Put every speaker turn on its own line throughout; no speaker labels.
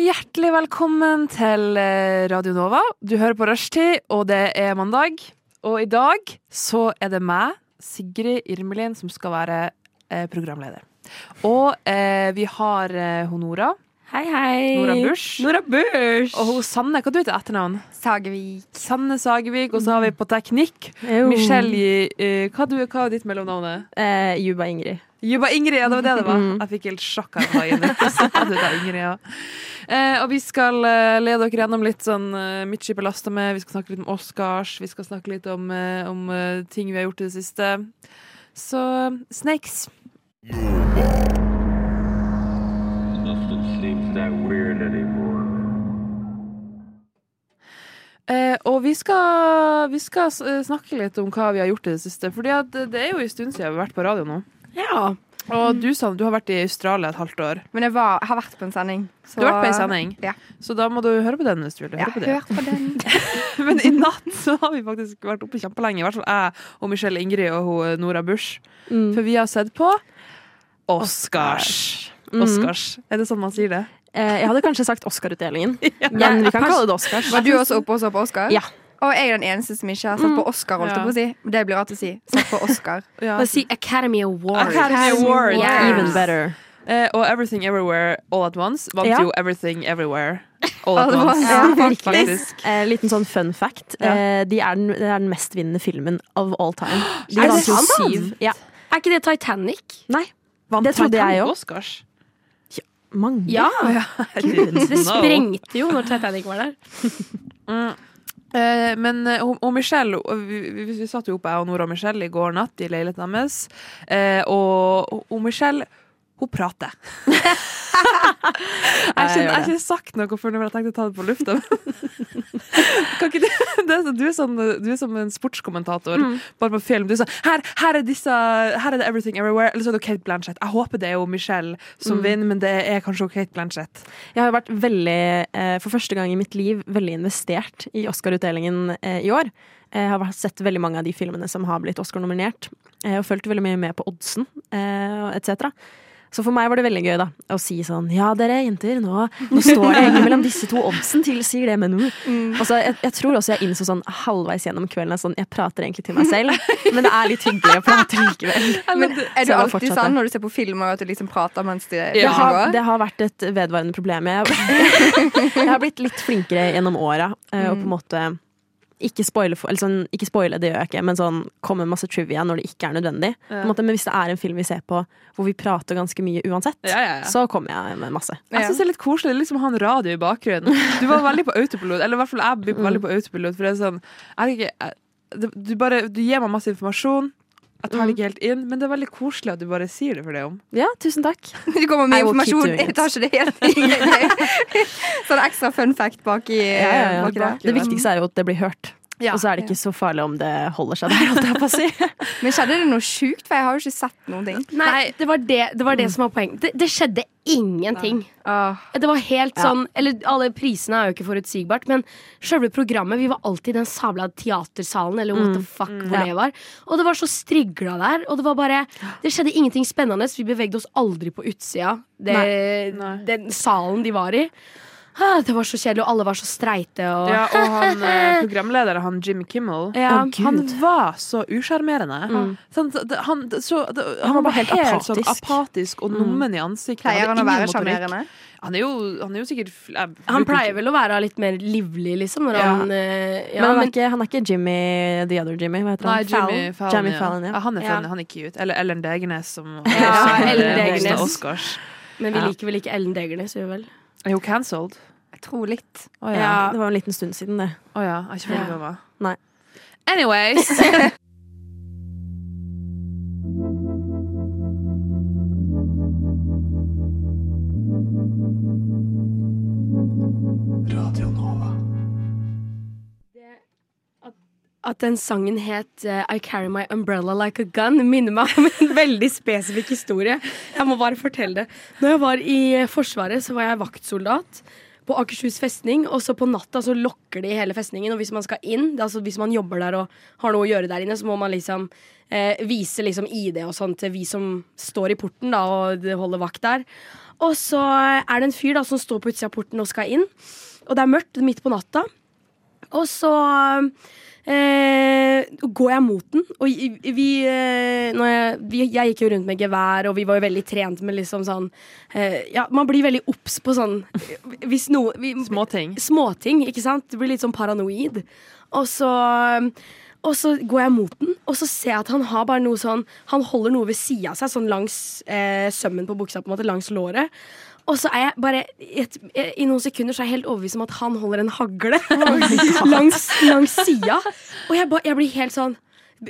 Hjertelig velkommen til eh, Radio Nova. Du hører på Rushtid, og det er mandag. Og i dag så er det meg, Sigrid Irmelin, som skal være eh, programleder. Og eh, vi har eh, hun Nora.
Hei, hei.
Nora Bush.
Nora Bush.
Og hun Sanne, hva du heter etternavn?
Sagevik.
Sanne Sagevik. Og så har vi på teknikk Michelle Gi- eh, hva, du, hva er ditt mellomnavn?
Eh, Juba Ingrid.
Juba Ingrid, ja, det var det det var.
Mm.
Jeg fikk helt sjokk av dagen. Ingrid, ja. eh, og vi skal eh, lede dere gjennom litt sånn eh, mye jeg belasta med. Vi skal snakke litt om Oscars, vi skal snakke litt om, eh, om eh, ting vi har gjort i det siste. Så Snakes.
Nothing seems that weird anymore.
Eh, og vi skal, vi skal s- eh, snakke litt om hva vi har gjort i det siste. Fordi at det det er jo en stund siden vi har vært på radio nå.
Ja.
Og du, Sanne, du har vært i Australia et halvt år.
Men jeg var, har vært på en sending. så-
Du har vært på en sending,
Ja.
så da må du høre på den hvis du vil.
Ja,
Høre på det.
hør på den.
Men i natt så har vi faktisk vært oppe kjempelenge. I hvert fall jeg og Michelle Ingrid og hun, eh, Nora Bush. For vi har sett på Oscars. Oscars. Er det sånn man sier det?
Eh, jeg hadde kanskje sagt Oscar-utdelingen, men vi kan kalle det Oscars.
Var du også oppe og så på Oscar?
Ja.
Og jeg er den eneste som ikke har sett på Oscar, holdt jeg
Ja.
på å si. Det blir rart å si. Sett på Oscar.
Ja.
Bare si Academy Award.
Academy Award.
Yeah.
Even better.
Eh, og Everything Everywhere All At Once vant
Ja.
jo Everything Everywhere All At
All at
Once.
once.
faktisk.
Eh, liten sånn fun fact.
Ja.
Eh, de er den, det er den mestvinnende filmen of all time. De
Er det
vant jo
sant?
syv. Ja.
Er ikke det Titanic?
Nei. det trodde jeg òg.
Oscars.
Mange.
Det
No.
sprengte jo når Titanic var der.
Eh, men eh, og, og Michelle og vi, vi, vi satt jo oppe, jeg og Nora og Michelle, i går natt i leiligheten deres. Eh, og, og- og Michelle, hun prater. jeg har ikke- jeg har ikke sagt noe før når jeg tenkte å ta det på lufta. kan ikke du, det, er så- du, er sånn, du er som en sportskommentator, bare på film. Du er sånn her, her, er disse, her er det Everything Everywhere. Eller så er det Kate Blanchett. Jeg håper det er jo Michelle som vinner, men det er kanskje også Kate Blanchett.
Jeg har vært veldig, eh, for første gang i mitt liv, veldig investert i Oscar-utdelingen eh, i år. Jeg har vært- sett veldig mange av de filmene som har blitt Oscar-nominert, eh, og fulgt veldig mye med på oddsen, eh, etc. Så for meg var det veldig gøy da, å si sånn Ja, dere jenter, nå, nå står det egentlig mellom disse to oddsen, tilsier det, men nå Og så jeg, jeg tror også jeg innså sånn halvveis gjennom kvelden at sånn, jeg prater egentlig til meg selv, men det er litt hyggelig å prate likevel.
Men er du
Så jeg bare
alltid
fortsatte.
sånn når du ser på filmer, at du liksom prater mens det det
Det har,
går?
det har vært et vedvarende problem. Jeg, jeg har blitt litt flinkere gjennom åra. eh, Og på en måte ikke spoile, for- eller sånn, ikke spoile, det gjør jeg ikke, men sånn komme med masse trivia når det ikke er nødvendig. På en måte, men hvis det er en film vi ser på hvor vi prater ganske mye uansett,
Ja, ja, ja.
så kommer jeg med masse.
Ja.
Jeg synes det er litt koselig det er liksom å ha en radio i bakgrunnen. Du var veldig på autopilot, eller i hvert fall jeg blir veldig på autopilot, for det er sånn jeg, vet ikke, jeg- det- du, bare, du gir meg masse informasjon, jeg tar det ikke helt inn, men det er veldig koselig at du bare sier det for det om.
Ja, tusen takk.
Det kommer mye
I will keep
informasjon.
doing it.
Jeg tar ikke det helt inn. Sånn ekstra fun fact baki,
Ja, ja, ja.
baki der.
Det viktigste er jo at det blir hørt.
Ja.
Og så er det ikke så farlig om det holder seg der, holdt jeg på å si.
Men skjedde det noe sjukt? For jeg har jo ikke sett noen ting.
Nei, det var det, det, var det som var poenget. Det, det skjedde ingenting.
Åh.
Det var helt sånn Eller alle prisene er jo ikke forutsigbart, men selve programmet Vi var alltid i den sabla teatersalen, eller what the fuck hvor det var. Og det var så strigla der, og det var bare Det skjedde ingenting spennende. Vi bevegde oss aldri på utsida. Det,
Nei.
Den salen de var i. Ah, Det var så kjedelig, og alle var så streite og
Ja, og han eh, programlederen, han Jim Kimmel,
Ja.
Å, Gud.
han var så usjarmerende. Sånn, det- han, det- så, det- han var bare helt, sånn
apatisk.
apatisk og nummen i ansiktet.
Pleier
hadde
han å
ingen
være
motorikk.
sjarmerende?
Han er jo, han er jo sikkert fl- jeg
Han
bruker
pleier vel å være litt mer livlig, liksom. Når
Ja.
han, eh, ja,
men, han er
men,
ikke, han er ikke Jimmy the other Jimmy, hva heter
Nei,
han?
Jimmy Fallon.
Jimmy
ja.
Fallon, ja.
Ja, han er
Ja.
funny, han er cute. Eller Ellen Degernes, som
Ja,
som er
Ellen
det motsatte
Degernes.
Oscars.
men vi
Ja.
liker vel ikke Ellen Degernes, gjør vi vel?
Er hun cancelled?
Jeg tror litt.
Å ja.
Det var jo en liten stund siden, det.
Å ja. Jeg har ikke fått det med meg.
Nei.
Anyways.
at den sangen het eh, I Carry My Umbrella Like a Gun. Minner meg om en veldig spesifikk historie. Jeg må bare fortelle det. Når jeg var i eh, Forsvaret, så var jeg vaktsoldat på Akershus festning. Og så på natta så lokker de hele festningen. Og hvis man skal inn, det er altså hvis man jobber der og har noe å gjøre der inne, så må man liksom eh, vise liksom ID og sånn til vi som står i porten da, og de holder vakt der. Og så er det en fyr da, som står på utsida av porten og skal inn. Og det er mørkt midt på natta. Og så eh, går jeg mot den. Og i- vi, eh, når jeg, vi, jeg gikk jo rundt med gevær, og vi var jo veldig trent med liksom sånn eh, Ja, man blir veldig obs på sånn hvis noe, vi,
Små ting.
småting, ikke sant? Du blir litt sånn paranoid. Og så, og så går jeg mot den, og så ser jeg at han har bare noe sånn Han holder noe ved sida av seg, sånn langs eh, sømmen på buksa, på en måte, langs låret. Og så er jeg bare i et, I noen sekunder så er jeg helt overbevist om at han holder en hagle langs, langs sida. Og jeg, ba, jeg blir helt sånn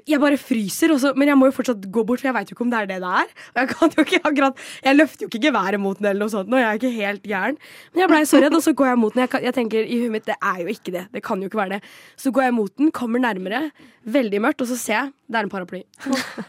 jeg bare fryser, og så- men jeg må jo fortsatt gå bort, for jeg veit jo ikke om det er det det er. Og jeg kan jo ikke akkurat Jeg løfter jo ikke geværet mot den, eller noe sånt, og jeg er ikke helt gæren. Men jeg blei så redd, og så går jeg mot den. Jeg, kan, jeg tenker i huet mitt det er jo ikke det. Det kan jo ikke være det. Så går jeg mot den, kommer nærmere, veldig mørkt, og så ser jeg det er en paraply.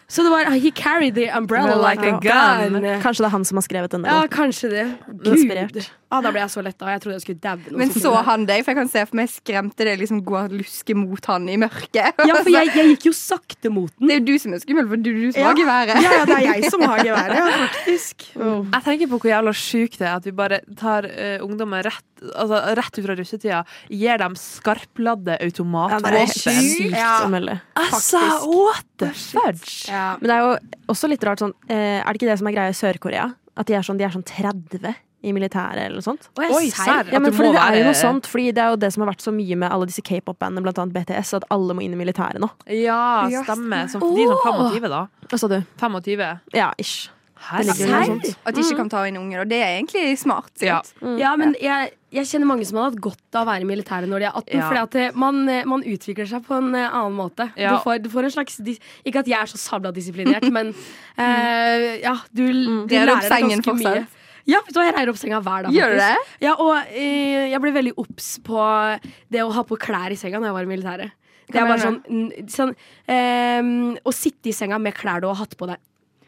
Så det var He carried the umbrella like a gun.
Kanskje det er han som har skrevet den.
Ja,
der.
kanskje det. Gud.
Inspirert.
Ah, da ble jeg så letta. Jeg trodde jeg skulle daue.
Men så han deg, for jeg kan se for meg skremte deg liksom gå og luske mot han i mørket.
Ja, for jeg, jeg gikk jo sakte mot den.
Det er jo du som er skummel, for du, du som har geværet.
Ja, ja, det er jeg som har geværet, ja, faktisk.
Jeg tenker på hvor jævla sjukt det er at vi bare tar eh, ungdommen rett, altså, rett ut fra russetida, gir dem skarpladde
Ja, det er
automatvåpen.
helt sykt
Ja.
å melde.
altså, what the fudge?
Ja.
Men det er jo også litt rart sånn eh, Er det ikke det som er greia i Sør-Korea? At de er sånn, de er sånn 30 i militæret eller noe sånt?
Oi, serr.
Ja,
At
men
det
fordi
må
det er jo
være-
noe sånt, fordi det er jo det som har vært så mye med alle disse k-pop-bandene, blant annet BTS, at alle må inn i militæret nå.
Ja,
Ja,
stemmer. Som de som
Åh.
25, da.
Hva sa du?
25.
Ja, ish.
Herregud.
ligger jo
Serr?
noe sånt.
sånn At de ikke kan ta inn unger, og det er egentlig smart. sant?
Ja.
Ja, men jeg, jeg kjenner mange som har hatt godt av å være i militæret når de er 18.
Ja.
Fordi at eh, man, eh, man utvikler seg på en eh, annen måte.
Ja.
Du, får, du får en slags dis- Ikke at jeg er så sabla disiplinert, men eh, ja, du, l- du
Mm. Reier
lærer
opp
deg
sengen
ganske mye.
fortsatt.
Ja, vet du hva, jeg reier opp senga hver dag.
Gjør du
faktisk.
det?
Ja, og eh, jeg ble veldig obs på det å ha på klær i senga når jeg var i militæret. Det er
Hva
bare sånn,
mener
n- sånn eh, Å sitte i senga med klær du har hatt på deg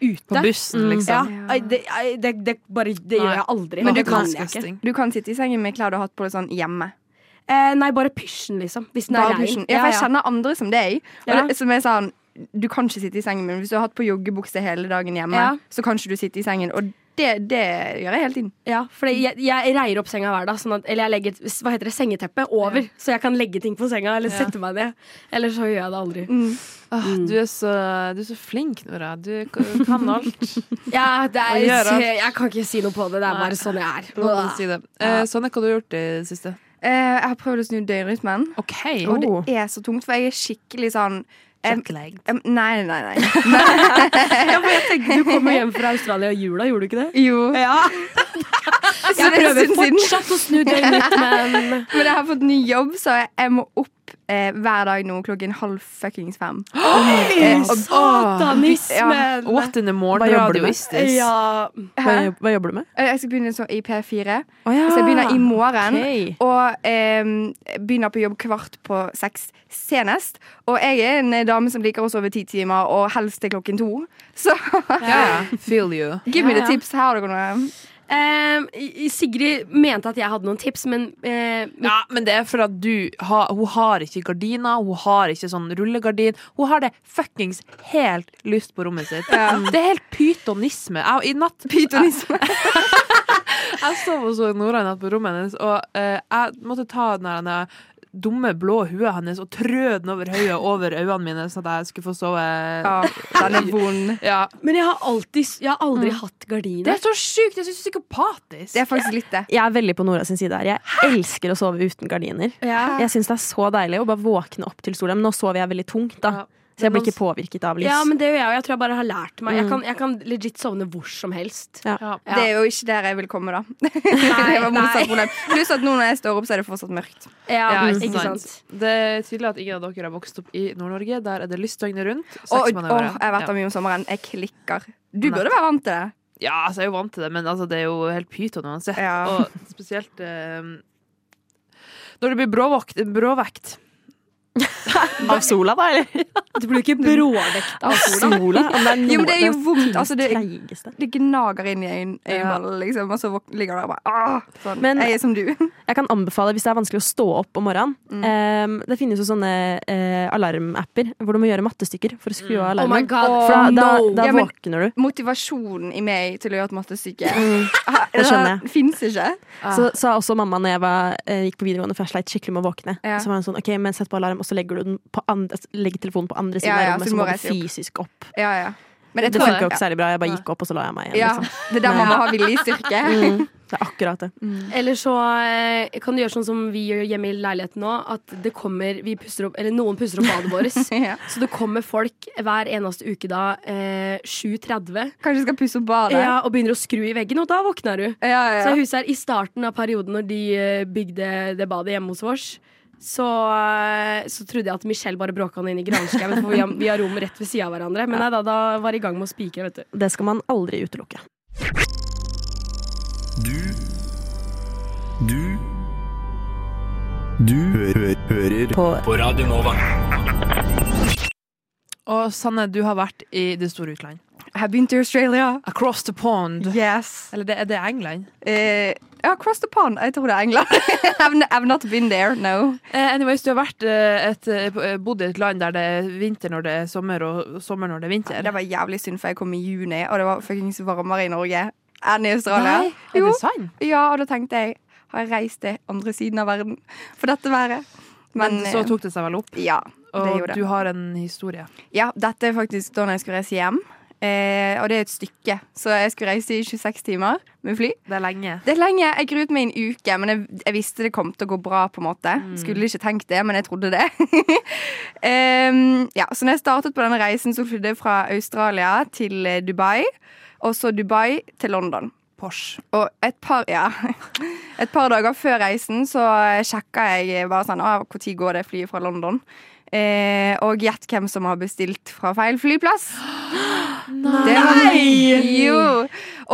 ute.
På
Mm.
bussen, liksom.
Ja, ai, det, ai, det, det, bare, det
Nei.
gjør jeg aldri.
Men du
Det
kan
jeg ikke.
Disgusting.
Du kan sitte i sengen med klær du har hatt på deg sånn hjemme.
Eh, nei, bare pysjen, liksom. Hvis den er
Bare
rein.
pysjen. Ja, for jeg kjenner andre som deg, og
Ja.
det, som er sånn Du kan ikke sitte i sengen, men hvis du har hatt på joggebukse hele dagen hjemme,
Ja.
så kan ikke du sitte i sengen. Og det, det gjør jeg hele tiden.
ja, for jeg, jeg reier opp senga hver dag. Sånn at, eller jeg legger et- hva heter det, sengeteppet over, så jeg kan legge ting på senga eller sette meg ned. Eller så gjør jeg det aldri.
Mm.
Åh, Ah,
Mm.
du, er så, du er så flink, Nora. Du k- kan alt.
Ja, det er,
Og gjør alt.
jeg, kan ikke si noe på det. Det er bare sånn jeg er.
Nå må du si det. Eh, Sonne, hva har du gjort i det siste?
Eh, jeg har prøvd å snu døgnrytmen,
OK.
og
Oh.
det er så tungt, for jeg er skikkelig sånn em,
Jetlagged.
em, Nei, nei, nei.
Ja, for jeg tenkte Du kom jo hjem fra Australia i jula, gjorde du ikke det?
Jo.
Ja,
Ja,
Jeg
det er en
prøver
stund siden.
fortsatt å snu døgnet, men
Men jeg har fått ny jobb, så jeg, jeg må opp eh, hver dag nå klokken halv fuckings fem. Eh, og-
Satanismen!
What in the
Hva
morning
jobber du med?
radioistis?
Ja.
Hva,
Hæ?
jobb- hva jobber du med?
Eh, Jeg skal begynne så i P4,
Å ja.
så jeg
Ah,
begynner i morgen.
Ok.
Og eh, begynner på jobb kvart på seks senest. Og jeg er en eh, dame som liker å sove ti timer, og helst til klokken to. Så
Ja, feel you.
give me
Ja,
the
ja.
tips. Her har dere noe.
Ehm, I- Sigrid mente at jeg hadde noen tips, men eh, mitt-
Ja, men det er for at du har, hun har ikke gardiner, hun har ikke sånn rullegardin. Hun har det fuckings helt lyst på rommet sitt. Det er helt pytonisme. Jeg, I natt
Pytonisme.
Jeg sov hos Nora i natt på rommet hennes, og eh, jeg måtte ta den her denne dumme blå huet hennes og trø den over høyet og over øynene mine, sånn at jeg skulle få sove.
Ja,
Ah,
den er vond.
Ja.
Men jeg har, alltid, jeg har aldri hatt
Det
gardiner.
er så sjukt! Jeg syns det er psykopatisk.
Det er faktisk litt det.
Jeg er veldig på Nora sin side her. Jeg elsker å sove uten gardiner. Jeg syns det er så deilig å bare våkne opp til sola. Men nå sover jeg veldig tungt,
Ja.
da. Så jeg
Men
blir ikke påvirket av lys.
Ja, men det gjør jeg, og jeg tror jeg bare har lært meg. Jeg kan, jeg kan legit sovne hvor som helst.
Ja.
ja.
Ja.
Det er jo ikke der jeg vil komme, da. det var motsatt problem. Pluss at nå når jeg står opp, så er det fortsatt mørkt.
Ja,
Ja,
ikke sant?
Det er tydelig at ingen av dere har vokst opp i Nord-Norge. Der er det lyst døgnet rundt. seks
Og,
måneder i
og
året.
jeg har vært
ja.
der mye om sommeren. Jeg klikker. Du burde være vant til det.
ja, altså, jeg er jo vant til det, men altså, det er jo helt pyton uansett.
Ja.
Og spesielt eh, når det blir bråvakt, bråvekt.
Av sola, da, eller?
Du blir jo ikke bråvekt av sola.
Sola? Om det er
Jo, men det er jo
noe-
vondt. Altså, det,
treigeste.
det gnager inn i øyn- øyenballen, liksom, og så våk- ligger du der og bare ah, sånn.
Men-
Jeg er som du.
Jeg kan anbefale hvis det er vanskelig å stå opp om morgenen.
Mm.
Eh, det finnes jo sånne eh, alarmapper hvor du må gjøre mattestykker for å skru
Mm.
av
Oh my
alarmen.
god.
Åh,
For da, da,
no.
da
Ja, men-
våkner du.
Motivasjonen i meg til å gjøre et mattestykke
det skjønner jeg.
Fins ikke. Ah.
Så sa også mamma når jeg var, eh, gikk på videregående, for jeg sleit skikkelig med å våkne.
Ja.
Så var hun sånn OK, men sett på alarm, og så legger du den på andre, legger telefonen på andre siden
Ja, ja,
av rommet,
så
så
du må
må du
reise opp.
fysisk opp.
Ja, ja. Men jeg
Det
tror
funka jo ikke særlig bra. Jeg bare gikk opp, og så la jeg meg igjen.
Ja,
Liksom. Mm.
det er der man må ha viljestyrke.
Det er akkurat det.
Eller så eh, kan du gjøre sånn som vi gjør hjemme i leiligheten nå, at det kommer, vi puster opp, eller noen puster opp badet vårt.
Ja.
Så det kommer folk hver eneste uke da, eh, 7.30,
Kanskje jeg skal pusse opp badet.
ja, og begynner å skru i veggen, og da våkner du.
Ja, ja,
Så
ja.
huset her i starten av perioden når de eh, bygde det badet hjemme hos oss, så, eh, så trodde jeg at Michelle bare bråka han inn i granskauen, for vi har, vi har rom rett ved sida av hverandre. Men nei da, da var jeg i gang med å spikre, vet du.
Det skal man aldri utelukke.
Du Du Du hø hø hører på. Radio Nova.
Og Sanne, du har vært i det store utland.
Jeg har begynt i Australia.
Across the pond.
Yes.
Eller det, er det England?
Eh, ja, cross the pond. Jeg tror det er England. I've, n- I've not been there, no.
Eh, anyways, du har vært, eh, et, eh, bodd i et land der det er vinter når det er sommer, og sommer når det er vinter.
Det var jævlig synd, for jeg kom i juni, og det var fuckings varmere i Norge enn i Australia.
Nei, er
Jo.
det sant?
Ja, og da tenkte jeg har jeg reist til andre siden av verden for dette været?
Men,
Men,
så
eh,
tok det seg vel opp,
ja, det
og
gjorde
du
det.
har en historie.
Ja, dette er faktisk da når jeg skulle reise hjem. Eh, og det er et stykke, så jeg skulle reise i 26 timer med fly.
Det er lenge.
Det er lenge. Jeg gruet meg i en uke, men jeg, jeg visste det kom til å gå bra. på en måte
Mm.
Skulle ikke tenkt det, men jeg trodde det. Em, ja, så når jeg startet på denne reisen, så flydde jeg fra Australia til eh, Dubai. Og så Dubai til London.
Porsche.
Og et par, ja, et par dager før reisen så sjekka jeg bare sånn ah, Når går det flyet fra London? Eh, og gjett hvem som har bestilt fra feil flyplass? Nei! jo.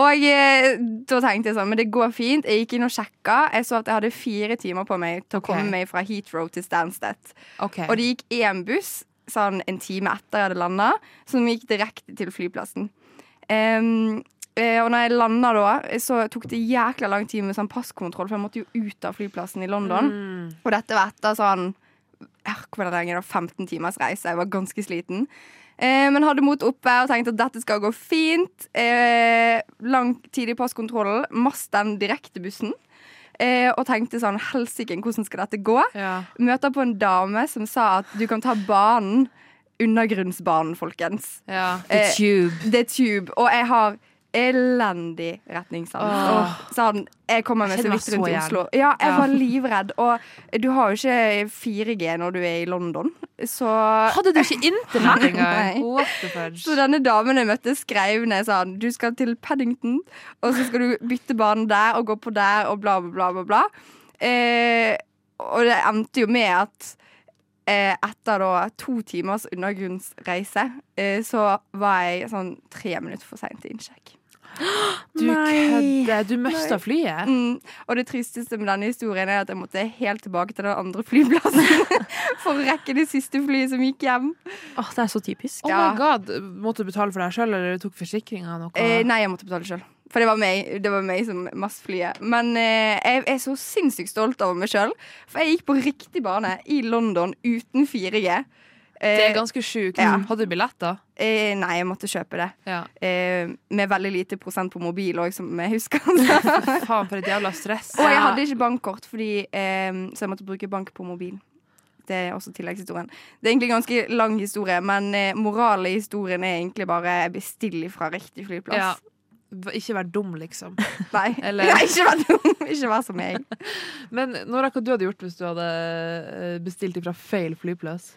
Og eh, da tenkte jeg sånn, men det går fint. Jeg gikk inn og sjekka. Jeg så at jeg hadde fire timer på meg til å
Ok.
komme meg fra Heathrow til Stansted.
Ok.
Og det gikk én buss sånn en time etter jeg hadde landa, som gikk direkte til flyplassen. Em, eh, og når jeg landa da, så tok det jækla lang tid med sånn passkontroll, for jeg måtte jo ut av flyplassen i London. Og dette var etter sånn eh, hvordan lenge da, 15 timers reise. Jeg var ganske sliten. Eh, men hadde mot oppe og tenkte at dette skal gå fint. Eh, lang tid i passkontrollen. Mast den direktebussen. Eh, og tenkte sånn Helsike, hvordan skal dette gå?
Ja.
møter på en dame som sa at du kan ta banen, undergrunnsbanen, folkens.
ja.
Eh,
tube.
Det er tube. Og jeg har elendig retningssans.
Åh.
Og Sånn, jeg kommer meg
Jeg
så
kjenner meg
vidt
så
rundt i
igjen.
Oslo. Ja, jeg
Ja.
var livredd. Og du har jo ikke 4G når du er i London, så
Hadde du ikke internett
Nei.
engang? What the fudge?
så denne damen jeg møtte, skrev ned sånn Du skal til Paddington, og så skal du bytte bane der og gå på der, og bla, bla, bla, bla. bla. Eh, og det endte jo med at eh, etter da to timers undergrunnsreise, eh, så var jeg sånn tre minutter for seint til innsjekk.
Du kødder. Du mista flyet.
Mm. Og det tristeste med denne historien er at jeg måtte helt tilbake til den andre flyplassen for å rekke det siste flyet som gikk hjem.
Åh, det er så typisk.
Oh
Ja.
my god, Måtte du betale for deg sjøl, eller tok forsikringa noe?
Eh, nei, jeg måtte betale sjøl. For det var meg, det var meg som massflyet. Men eh, jeg er så sinnssykt stolt over meg sjøl. For jeg gikk på riktig bane i London uten 4G. Eh,
det er ganske sjukt. Mm.
ja.
Hadde du billetter?
eh, nei, jeg måtte kjøpe det.
Ja.
Eh, med veldig lite prosent på mobil òg, som jeg husker. og
Faen, for et jævla stress.
jeg hadde ikke bankkort, fordi, eh, så jeg måtte bruke bank på mobil. Det er også tilleggshistorien. Det er egentlig en ganske lang historie, men eh, moralen i historien er egentlig bare bestill fra riktig flyplass.
Ja. V- Ikke vær dum, liksom.
Nei.
Eller-
Nei, ikke vær dum. Ikke vær som meg.
Men Nora, hva du hadde gjort hvis du hadde eh, bestilt ifra feil flyplass?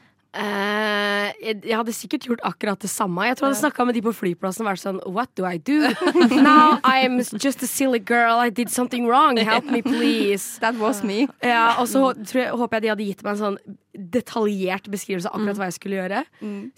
Eh, jeg, jeg hadde sikkert gjort akkurat det samme. Jeg tror jeg hadde snakka med de på flyplassen og vært sånn What do I do? Now I'm just a silly girl. I did something wrong. Help me, please.
That was me.
Ja, og så tror jeg,
Mm.
håper jeg de hadde gitt meg en sånn detaljert beskrivelse av akkurat hva jeg skulle gjøre.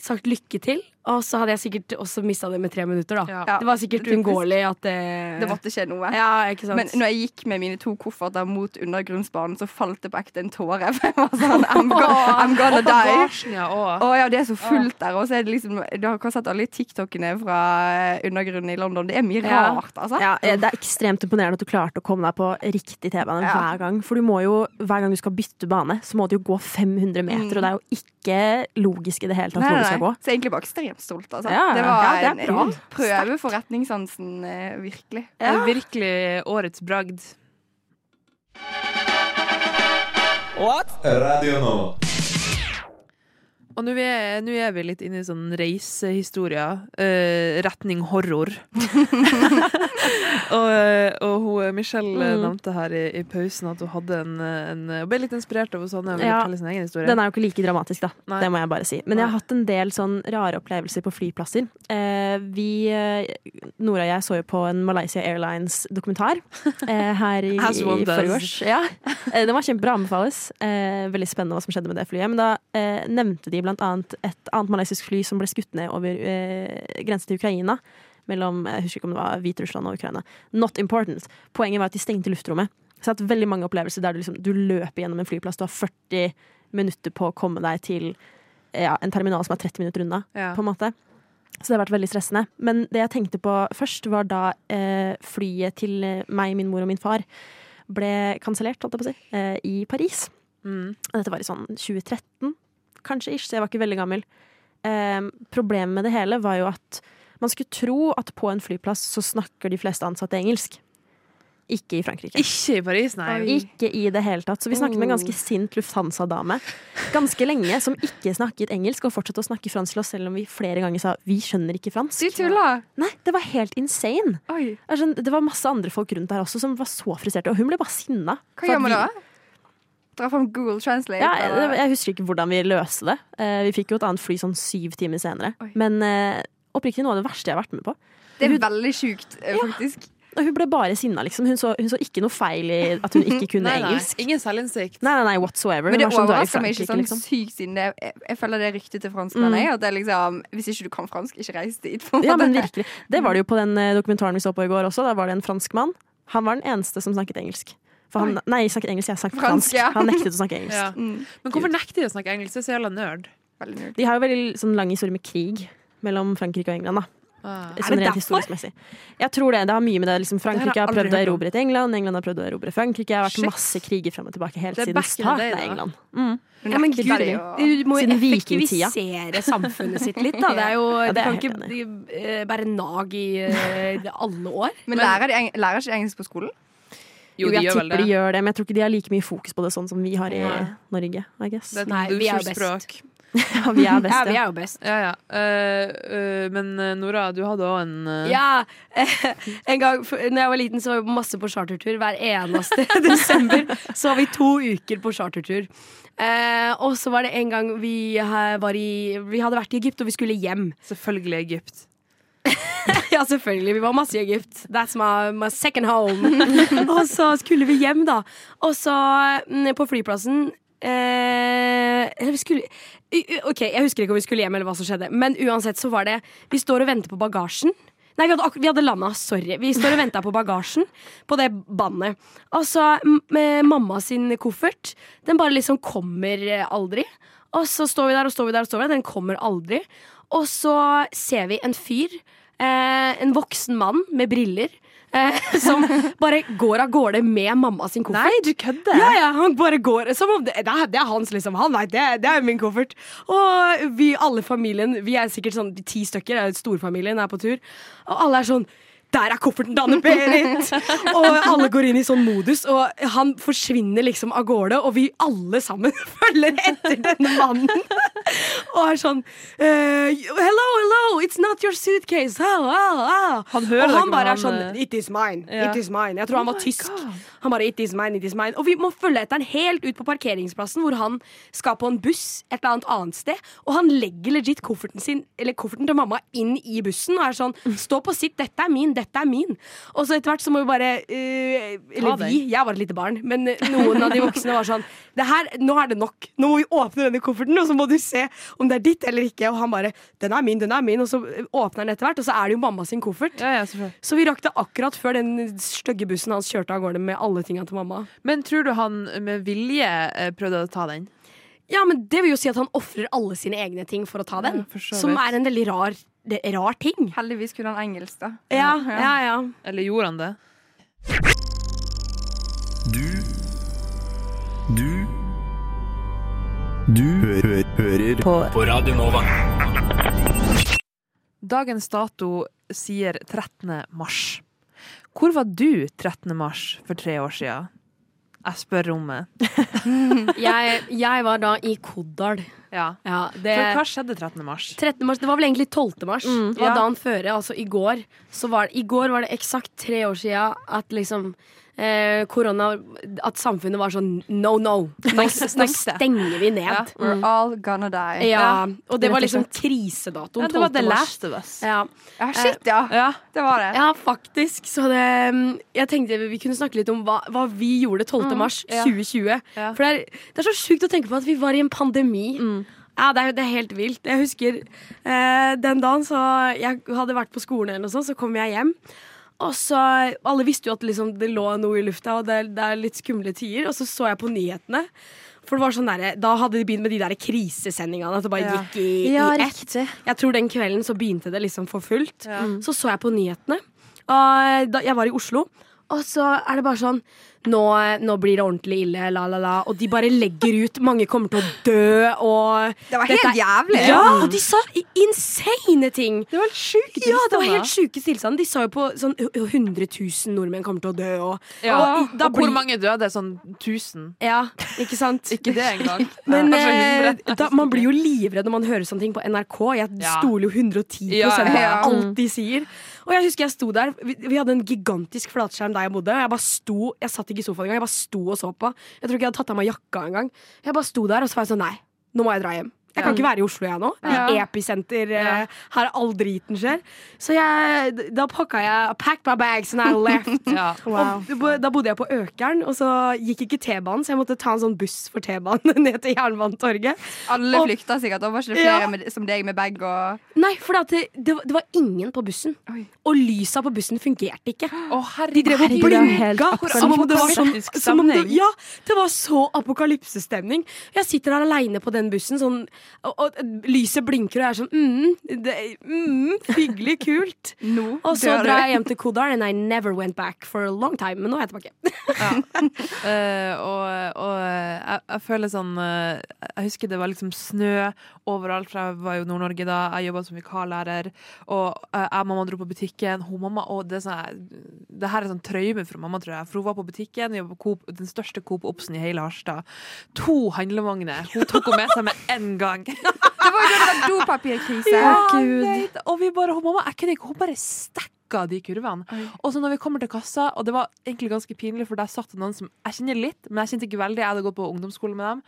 Sagt lykke til, Og så hadde jeg sikkert også mista det med tre minutter, da.
Ja.
Ja.
Det var sikkert uunngåelig at det
Det måtte skje noe.
Ja, ikke sant.
Men når jeg gikk med mine to kofferter mot undergrunnsbanen, så falt det på ekte en tåre. For jeg var sånn, I'm gonna, I'm gonna die.
Bagasjen, ja, og
Å ja, det er så fullt der. Og så er det liksom, du har kanskje sett alle TikTokene fra eh, undergrunnen i London. Det er mye
Ja.
rart, altså.
Ja, eh, det er ekstremt imponerende at du klarte å komme deg på riktig T-bane
Ja.
hver gang. For du må jo, hver gang du skal bytte bane, så må du jo gå 500 meter, og det er jo ikke logisk i det hele tatt
Mm. Nei,
hvor
nei,
du skal
nei.
gå.
Så jeg egentlig var ekstremt stolt. Altså.
Ja,
det
ja,
var
det er
en-
bra.
en prøve for retningssansen, eh, virkelig.
det er virkelig årets bragd.
Radio nå.
Og nå er, nå er vi litt inne i sånn reisehistorier. eh, retning horror. og eh, og hun, Michelle eh, nevnte her i, i pausen at hun hadde en, eh, en Hun ble litt inspirert av Susanne. Ja.
Ja.
Fortelle sin egen historie.
Den er jo ikke like dramatisk, da.
Nei.
Det må jeg bare si. Men jeg har hatt en del sånn rare opplevelser på flyplasser. Eh, vi, eh, Nora og jeg så jo på en Malaysia Airlines-dokumentar eh, her i,
As one
i
does.
forgårs. Ja. Eh, den var kjempebra, anbefales. Eh, veldig spennende hva som skjedde med det flyet. Men da eh, nevnte de blant annet et annet malaysisk fly som ble skutt ned over eh, grensen til Ukraina. Mellom, eh, jeg husker ikke om det var Hviterussland og Ukraina. Not important. Poenget var at de stengte luftrommet. Så jeg har hatt veldig mange opplevelser der du, liksom, du løper gjennom en flyplass, du har 40 minutter på å komme deg til eh, ja, en terminal som er 30 minutter unna.
Ja.
på en måte. Så det har vært veldig stressende. Men det jeg tenkte på først, var da eh, flyet til eh, meg, min mor og min far ble kansellert, holdt jeg på å si, eh, i Paris.
Mm.
Og Dette var i sånn 2013, kanskje ish, så jeg var ikke veldig gammel. Eh, problemet med det hele var jo at man skulle tro at på en flyplass så snakker de fleste ansatte engelsk. Ikke i Frankrike.
Ikke i Paris, nei.
Ikke i det hele tatt. Så vi snakket med en ganske sint Lufthansa-dame ganske lenge, som ikke snakket engelsk, og fortsatte å snakke fransk til oss, selv om vi flere ganger sa 'vi skjønner ikke fransk'.
Du tuller!
Nei, det var helt insane.
Oi,
Jeg skjønner- Det var masse andre folk rundt der også som var så frustrerte, og hun ble bare sinna.
hva
For at
gjør man
vi-
da? Dra fram Google Translate?
Ja,
eller?
jeg, jeg husker ikke hvordan vi løste det. Eh, Vi fikk jo et annet fly sånn syv timer senere.
Oi.
Men eh, oppriktig noe av det verste jeg har vært med på.
det er veldig sjukt, eh, faktisk.
Og hun ble bare sinna, liksom. Hun så, hun så ikke noe feil i at hun ikke kunne
Nei, nei.
engelsk.
Ingen selvinnsikt.
Nei, nei, nei, whatsoever.
Men
Hun
det
var som, "Du er i
overrasker meg ikke
Frankrike",
sånn
liksom.
sykt, siden det, jeg, jeg følger det ryktet til franskmennene. At det er liksom, hvis ikke du kan fransk, ikke reis dit. på en
Ja,
måte.
men virkelig. Det var det jo på den eh, dokumentaren vi så på i går også. Da var det en fransk mann. Han var den eneste som snakket engelsk. For han, nei, snakket engelsk, jeg snakket fransk.
Fransk, ja.
Han nektet å snakke engelsk.
Ja.
Mm.
Men hvorfor nekter de å snakke engelsk? Det er så jævla nerd.
Veldig nerd.
De har jo veldig sånn lang historie med krig mellom Frankrike og England. da
Ah.
Sånn
det
rent
derfor?
historisk-messig. Jeg tror det. Det har mye med det liksom,
Det
Frankrike
har jeg
har prøvd å
aldri hørt om.
erobre et England, England har prøvd å erobre Frankrike. Det har vært
Shit.
masse kriger fram og tilbake helt
Det er
siden
back in the day,
starten av
da.
England. Mm.
Ja, men
Nekter
gud,
de å-
du må jo
Siden vikingtida.
effektivisere samfunnet sitt litt, da. Det er jo,
Ja, det
du
er
kan
jeg
ikke
helt
bli- eh, bære nag i eh, det alle år.
Men lærer, de, eng- lærer ikke engelsk på skolen?
Jo, de
jeg
gjør vel
tipper
det.
de gjør det, men jeg tror ikke de har like mye fokus på det sånn som vi har i Norge. I guess.
Det er et
Nei, vi er jo
luksusspråk.
Ja, vi er
Ja,
best,
vi
ja.
er jo best.
Ja, ja. Eh, eh, men eh, Nora, du hadde òg en eh,
Ja, eh, en gang for, når jeg var liten, så var vi masse på chartertur. Hver eneste desember så var vi to uker på chartertur. Eh, og så var det en gang vi, eh, var i, vi hadde vært i Egypt, og vi skulle hjem.
Selvfølgelig Egypt.
Ja, selvfølgelig. Vi var masse i Egypt. That's my, my second home. og så skulle vi hjem, da. Og så mm, på flyplassen eh, Eller vi skulle u- u- OK, jeg husker ikke om vi skulle hjem, eller hva som skjedde. Men uansett så var det Vi står og venter på bagasjen. Nei, vi hadde, akkur- vi hadde landa. Sorry. Vi står og venta på bagasjen på det bandet. Og så m- med mamma sin koffert. Den bare liksom kommer eh, aldri. Og så står vi der og står vi der, og står vi der. Den kommer aldri. Og så ser vi en fyr. Eh, en voksen mann med briller eh, som bare går av gårde med mamma sin koffert.
Nei, du kødder!
Ja, ja, han bare går som om det, det, er, det er hans, liksom. Han vet det. Det er min koffert. Og vi alle familien, vi er sikkert sånn ti stykker, det er storfamilien er på tur, og alle er sånn der er kofferten til Anne-Berit! og alle går inn i sånn modus, og han forsvinner liksom av gårde. Og vi alle sammen følger etter denne mannen. og er sånn eh, Hello, hello, it's not your suitcase. Oh, oh, oh.
Han hører
og
dere,
han
men
bare er
han,
sånn
eh,
It is mine.
Ja. Oh
It is mine. Jeg tror han var tysk. Han bare, it is mine, it is mine Og vi må følge etter han helt ut på parkeringsplassen, hvor han skal på en buss et eller annet annet sted. Og han legger legit kofferten sin Eller kofferten til mamma inn i bussen og er sånn Stå på sitt, dette er min, dette er min. Og så etter hvert så må vi bare eh, Eller
den.
vi, jeg var et lite barn, men eh, noen av de voksne var sånn det her, Nå er det nok. Nå må vi åpne denne kofferten, og så må du se
se om det er ditt eller ikke. Og han bare 'den er min, den er min', og så åpner han etter hvert, og så er det jo mamma sin koffert.
Ja, ja, selvfølgelig.
Så vi rakk det akkurat før den stygge bussen hans kjørte av gårde med alle tinga til mamma.
Men tror du han med vilje eh, prøvde å ta den?
Ja, men det vil jo si at han ofrer alle sine egne ting for å ta den.
Ja, for så
som
vidt.
er en veldig rar, det, rar ting.
Heldigvis kunne han engelsk, da.
Ja, ja, ja.
Eller gjorde han det?
Du Du Du hø hø hører på. Radio Nova.
Dagens dato sier 13. mars. Hvor var du 13. mars for tre år siden? Jeg spør rommet.
Jeg, jeg var da i Kodal.
Ja.
Ja, det,
For hva skjedde 13. mars?
13. mars, det var vel egentlig 12. mars. det var
Mm. ja.
dagen før, altså i går. Så var, I går var det eksakt tre år siden at liksom eh, korona At samfunnet var sånn no, no. Nå, nå stenger vi ned. Ja.
We're all gonna die.
Og det var
Rett og
liksom krisedatoen.
Ja, det var
12.
The
mars.
Last of Us.
Ja.
Ja, shit, ja.
Eh, Ja.
Det var det.
ja, faktisk. Så det mm, Jeg tenkte vi kunne snakke litt om hva, hva vi gjorde 12. mars 2020.
Mm, Ja. Mm.
For det er, det er så sjukt å tenke på at vi var i en pandemi. Ja, det er, det er helt vilt. Jeg husker eh, den dagen så jeg hadde vært på skolen, eller noe sånt, så kom jeg hjem. Og så, Alle visste jo at liksom, det lå noe i lufta, og det, det er litt skumle tider. Og så så jeg på nyhetene. For det var sånn der, Da hadde de begynt med de der krisesendingene. At det bare
Ja.
gikk i, i ett. Jeg tror den kvelden så begynte det liksom for fullt. Så så jeg på nyhetene. Og da, jeg var i Oslo, og så er det bare sånn nå, nå blir det ordentlig ille, la, la, la. Og de bare legger ut. Mange kommer til å dø, og
Det var
Dette
helt
er-
jævlig.
Ja, og de sa i- insane ting!
Det var helt sjukt.
Ja, det var helt sjuke tilstander. De sa jo på sånn 100 000 nordmenn kommer til å dø, og
Ja.
og i- da
og hvor
blir-
mange døde? Sånn 1000?
Ja, ikke sant?
Ikke det engang.
Men
Ja, kanskje
eh,
100.
da, man blir jo livredd når man hører sånne ting på NRK. Jeg
Ja.
stoler jo 110
Ja,
på
ja.
alt de sier. Og jeg husker jeg sto der. Vi, vi hadde en gigantisk flatskjerm der jeg bodde. Og jeg bare sto, jeg satt ikke i sofaen engang. Jeg bare sto og så på. Jeg tror ikke jeg hadde tatt av meg jakka engang. Jeg bare sto der, og så var jeg sånn Nei, nå må jeg dra hjem. Jeg kan ikke være i Oslo, jeg nå. I episenter eh, her all driten skjer. Så jeg, da pakka jeg Packed my bags and I left.
Ja.
Og bo- da bodde jeg på Økeren, og så gikk ikke T-banen, så jeg måtte ta en sånn buss for T-banen ned til Jernbanetorget.
Alle
Og-
flykta sikkert. Og var ikke det
Ja.
flere med, som deg med bag og
Nei, for det, at det, det, var, det var ingen på bussen.
Oi.
Og lysa på bussen fungerte ikke.
Å, herregud.
De drev og
Herregud, det er helt
blinka som om det var sånn
apokalyptisk
som om det,
stemning.
Ja, det var så apokalypsestemning. Jeg sitter her aleine på den bussen, sånn, og, og lyset blinker, og jeg er sånn mm, det, mm, Hyggelig, kult.
Nå
Og så
dør du.
drar jeg hjem til Kodal, and I never went back for a long time. Men nå er jeg tilbake.
Eh, og og jeg, jeg føler sånn eh, Jeg husker det var liksom snø overalt, for jeg var jo i Nord-Norge da. Jeg jobba som vikarlærer. Og eh, jeg og mamma dro på butikken. Hun mamma, og det, er sånn, jeg- det her er sånn traume fra mamma, tror jeg. For hun var på butikken, vi jobbet på Coop, den største Coop Obsen i hele Harstad. To handlevogner. Hun tok henne med seg med en gang.
Det var jo da det var dopapirkrise.
jeg vet. Og vi bare, hun mamma, jeg kunne ikke, hun bare stekka de kurvene. Og så når vi kommer til kassa, og det var egentlig ganske pinlig, for der satt det noen som jeg kjenner litt, men jeg kjente ikke veldig, jeg hadde gått på ungdomsskole med dem.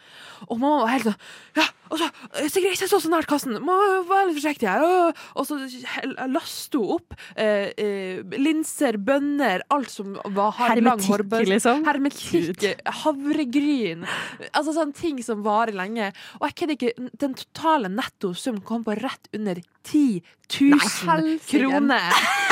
Og mamma var helt sånn Ja, og så eh, Sigrid, ikke så så nært kassen! Må være litt forsiktig her! Og, og så hel- laste hun opp eh, eh, linser, bønner, alt som var har lang
Hermetikk,
hårbørste.
liksom?
Hermetikk, havregryn Altså sånn ting som varer lenge. Og jeg kødder ikke, den totale nettosum kom på rett under 10 000 kroner.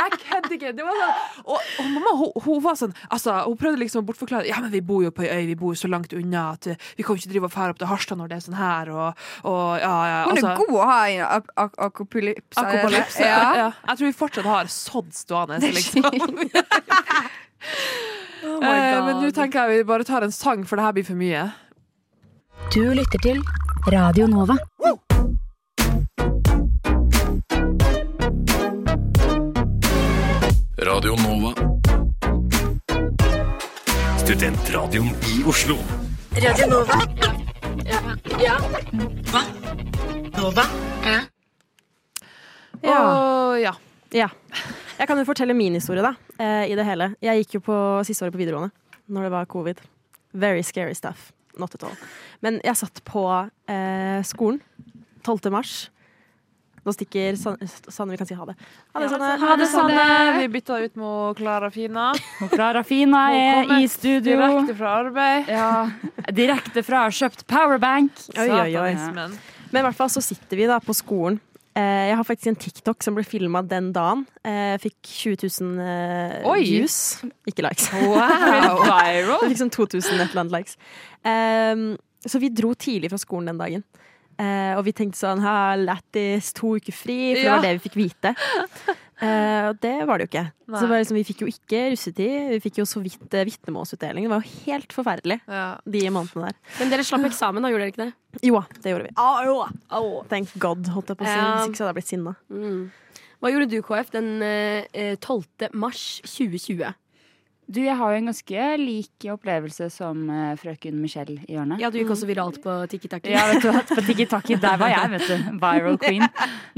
Jeg kødder ikke! Det var sånn Og, og mamma hun, hun var sånn altså, Hun prøvde liksom å bortforklare Ja, men vi bor jo på ei øy, vi bor jo så langt unna at eh, vi kan jo ikke drive og fære opp til Harstad når det er sånn her, og, og ja, ja
Hun er
altså,
god å ha i ak ak akopolypse.
Akopalypse. Ja.
Ja.
Jeg tror vi fortsatt har sådd stående.
Det er
Liksom. Eh, Men nå tenker jeg vi bare tar en sang, for det her blir for mye.
Du lytter til Radio Nova.
Radio Nova. Studentradioen i Oslo.
Ja.
Og, ja.
Ja. Jeg kan jo fortelle min historie, da. eh, I det hele. Jeg gikk jo på siste året på videregående når det var covid. Very scary stuff. Not at all. Men jeg satt på eh, skolen 12. mars. Nå stikker San- Sanne, vi kan si ha det. Ha det, Sanne.
altså, Ha det, Sanne! Vi bytta ut med Klara Fina.
Klara Fina er
Velkommen
i studio.
Direkte fra arbeid.
Ja, direkte fra kjøpt powerbank.
Oi, oi, oi.
Satanismen.
Men i hvert fall så sitter vi da på skolen. Eh, Jeg har faktisk en TikTok som ble filma den dagen. Eh, Jeg fikk 20 000 eh,
Oi.
views. Ikke likes.
Wow! Viral.
Jeg fikk sånn 2000 et eller annet likes. Ehm, så vi dro tidlig fra skolen den dagen. Eh, og vi tenkte sånn ha, lættis, to uker fri, for det
Ja.
var det vi fikk vite. Eh, Og det var det jo ikke. Så
Nei.
det var liksom, vi fikk jo ikke russetid. Vi fikk jo så vidt eh, vitnemålsutdeling. Det var jo helt forferdelig,
Ja.
de månedene der.
Men dere slapp eksamen, da gjorde dere ikke det?
Jo, det gjorde vi. Thank God, holdt jeg på å si.
Ja.
Hvis ikke så hadde jeg blitt sinna.
Mm. Hva gjorde du, KF, den eh, 12. mars 2020?
Du, jeg har jo en ganske lik opplevelse som eh, frøken Michelle i hjørnet.
Ja, du gikk også viralt på TikTok.
Ja, vet du hva, på Tiki-Taki, der var jeg, vet du. Viral queen.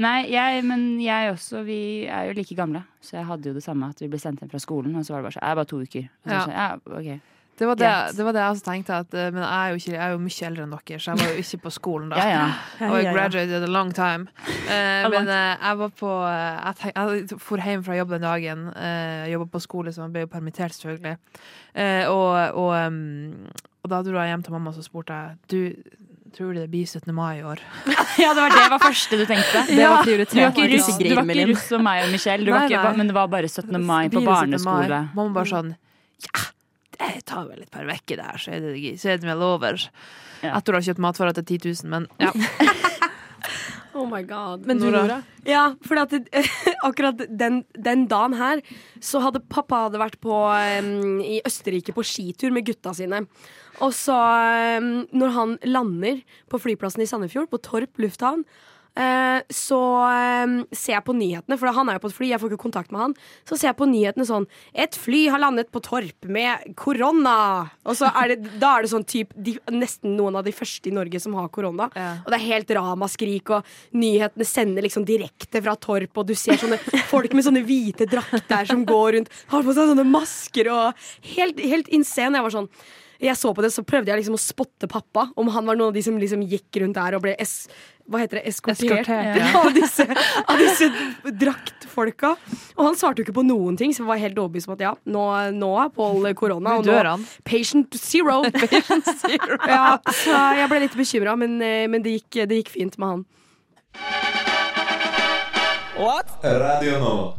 Nei, jeg, men jeg også, vi er jo like gamle. Så jeg hadde jo det samme, at vi ble sendt hjem fra skolen, og så var det bare sånn, jeg er bare to uker. Og så,
Ja.
sånn, ja, ok.
Det var det,
Greit.
det var det jeg også tenkte. At, eh, men jeg er, jo ikke, jeg er jo mye eldre enn dere, så jeg var jo ikke på skolen da.
Ja, ja.
Og jeg graduated a long time. Eh,
A long
men eh, jeg var på eh, Jeg, tenk, jeg for hjem fra jobb den dagen. Uh, Jobba på skole, så jeg ble jo permittert, selvfølgelig. Eh, og, og, em, og da dro jeg hjem til mamma, og så spurte jeg Du tror du det blir 17. mai i år.
ja, det var det var første du tenkte.
Det var
Du var
prioritert.
ikke russ, du
Sigrid
var ikke
Melin.
russ som meg og Michelle, du var
Nei,
ikke,
nei.
men det var bare 17. mai på
Blir det 17. mai?
barneskole.
Mamma
Mm.
bare sånn Ja, det tar vel et par uker, det her, så er det, så er det vel over.
Ja.
Etter å ha kjøpt matvarer til 10 000, men ja.
Oh my god.
Men du,
Nora?
Nora?
Ja, for at, det- akkurat den, den dagen her så hadde pappa hadde vært på, em, i Østerrike på skitur med gutta sine. Og så, em, når han lander på flyplassen i Sandefjord, på Torp lufthavn, eh, så em, ser jeg på nyhetene, for han er jo på et fly, jeg får ikke kontakt med han. Så ser jeg på nyhetene sånn Et fly har landet på Torp med korona! Og så er det, da er det sånn typ de, Nesten noen av de første i Norge som har korona.
Ja.
Og det er helt ramaskrik, og nyhetene sender liksom direkte fra Torp, og du ser sånne folk med sånne hvite drakter som går rundt, har på seg sånne masker og Helt, helt insane. Jeg var sånn jeg så på det, så prøvde jeg liksom å spotte pappa, om han var noen av de som liksom gikk rundt der og ble es hva heter det, eskortert,
Eskortert, ja.
av, disse, av disse draktfolka. Og han svarte jo ikke på noen ting, så jeg var helt overbevist om at ja, nå, nå er Pål korona.
Nå
Og nå,
dør han.
Patient zero. ja, så jeg ble litt bekymra, men, eh, men det, gikk, det gikk fint med han.
Radio Nova.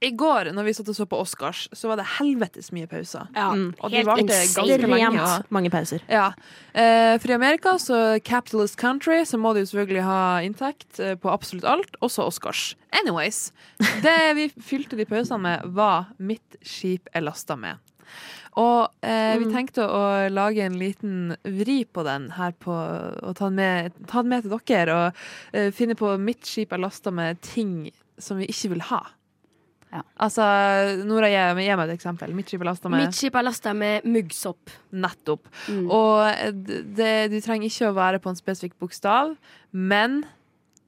I går, når vi satt og så på Oscars, så var det helvetes mye pauser.
Ja.
Mm.
Og de varte ganske lenge. ja.
Ekstremt mange pauser.
Ja. Eh, for i Amerika, så capitalist country, så må du jo selvfølgelig ha inntekt eh, på absolutt alt, også Oscars. Anyways. Det vi fylte de pausene med, var mitt skip er lasta med. Og eh, vi tenkte å lage en liten vri på den her på og ta den med, ta den med til dere. Og eh, finne på mitt skip er lasta med ting som vi ikke vil ha.
Ja.
Altså, Nora, gi gi meg et eksempel. Mitt skip er lasta med
Mitt skip er lasta med muggsopp.
Nettopp.
Mm.
Og eh, d- det, du trenger ikke å være på en spesifikk bokstav, men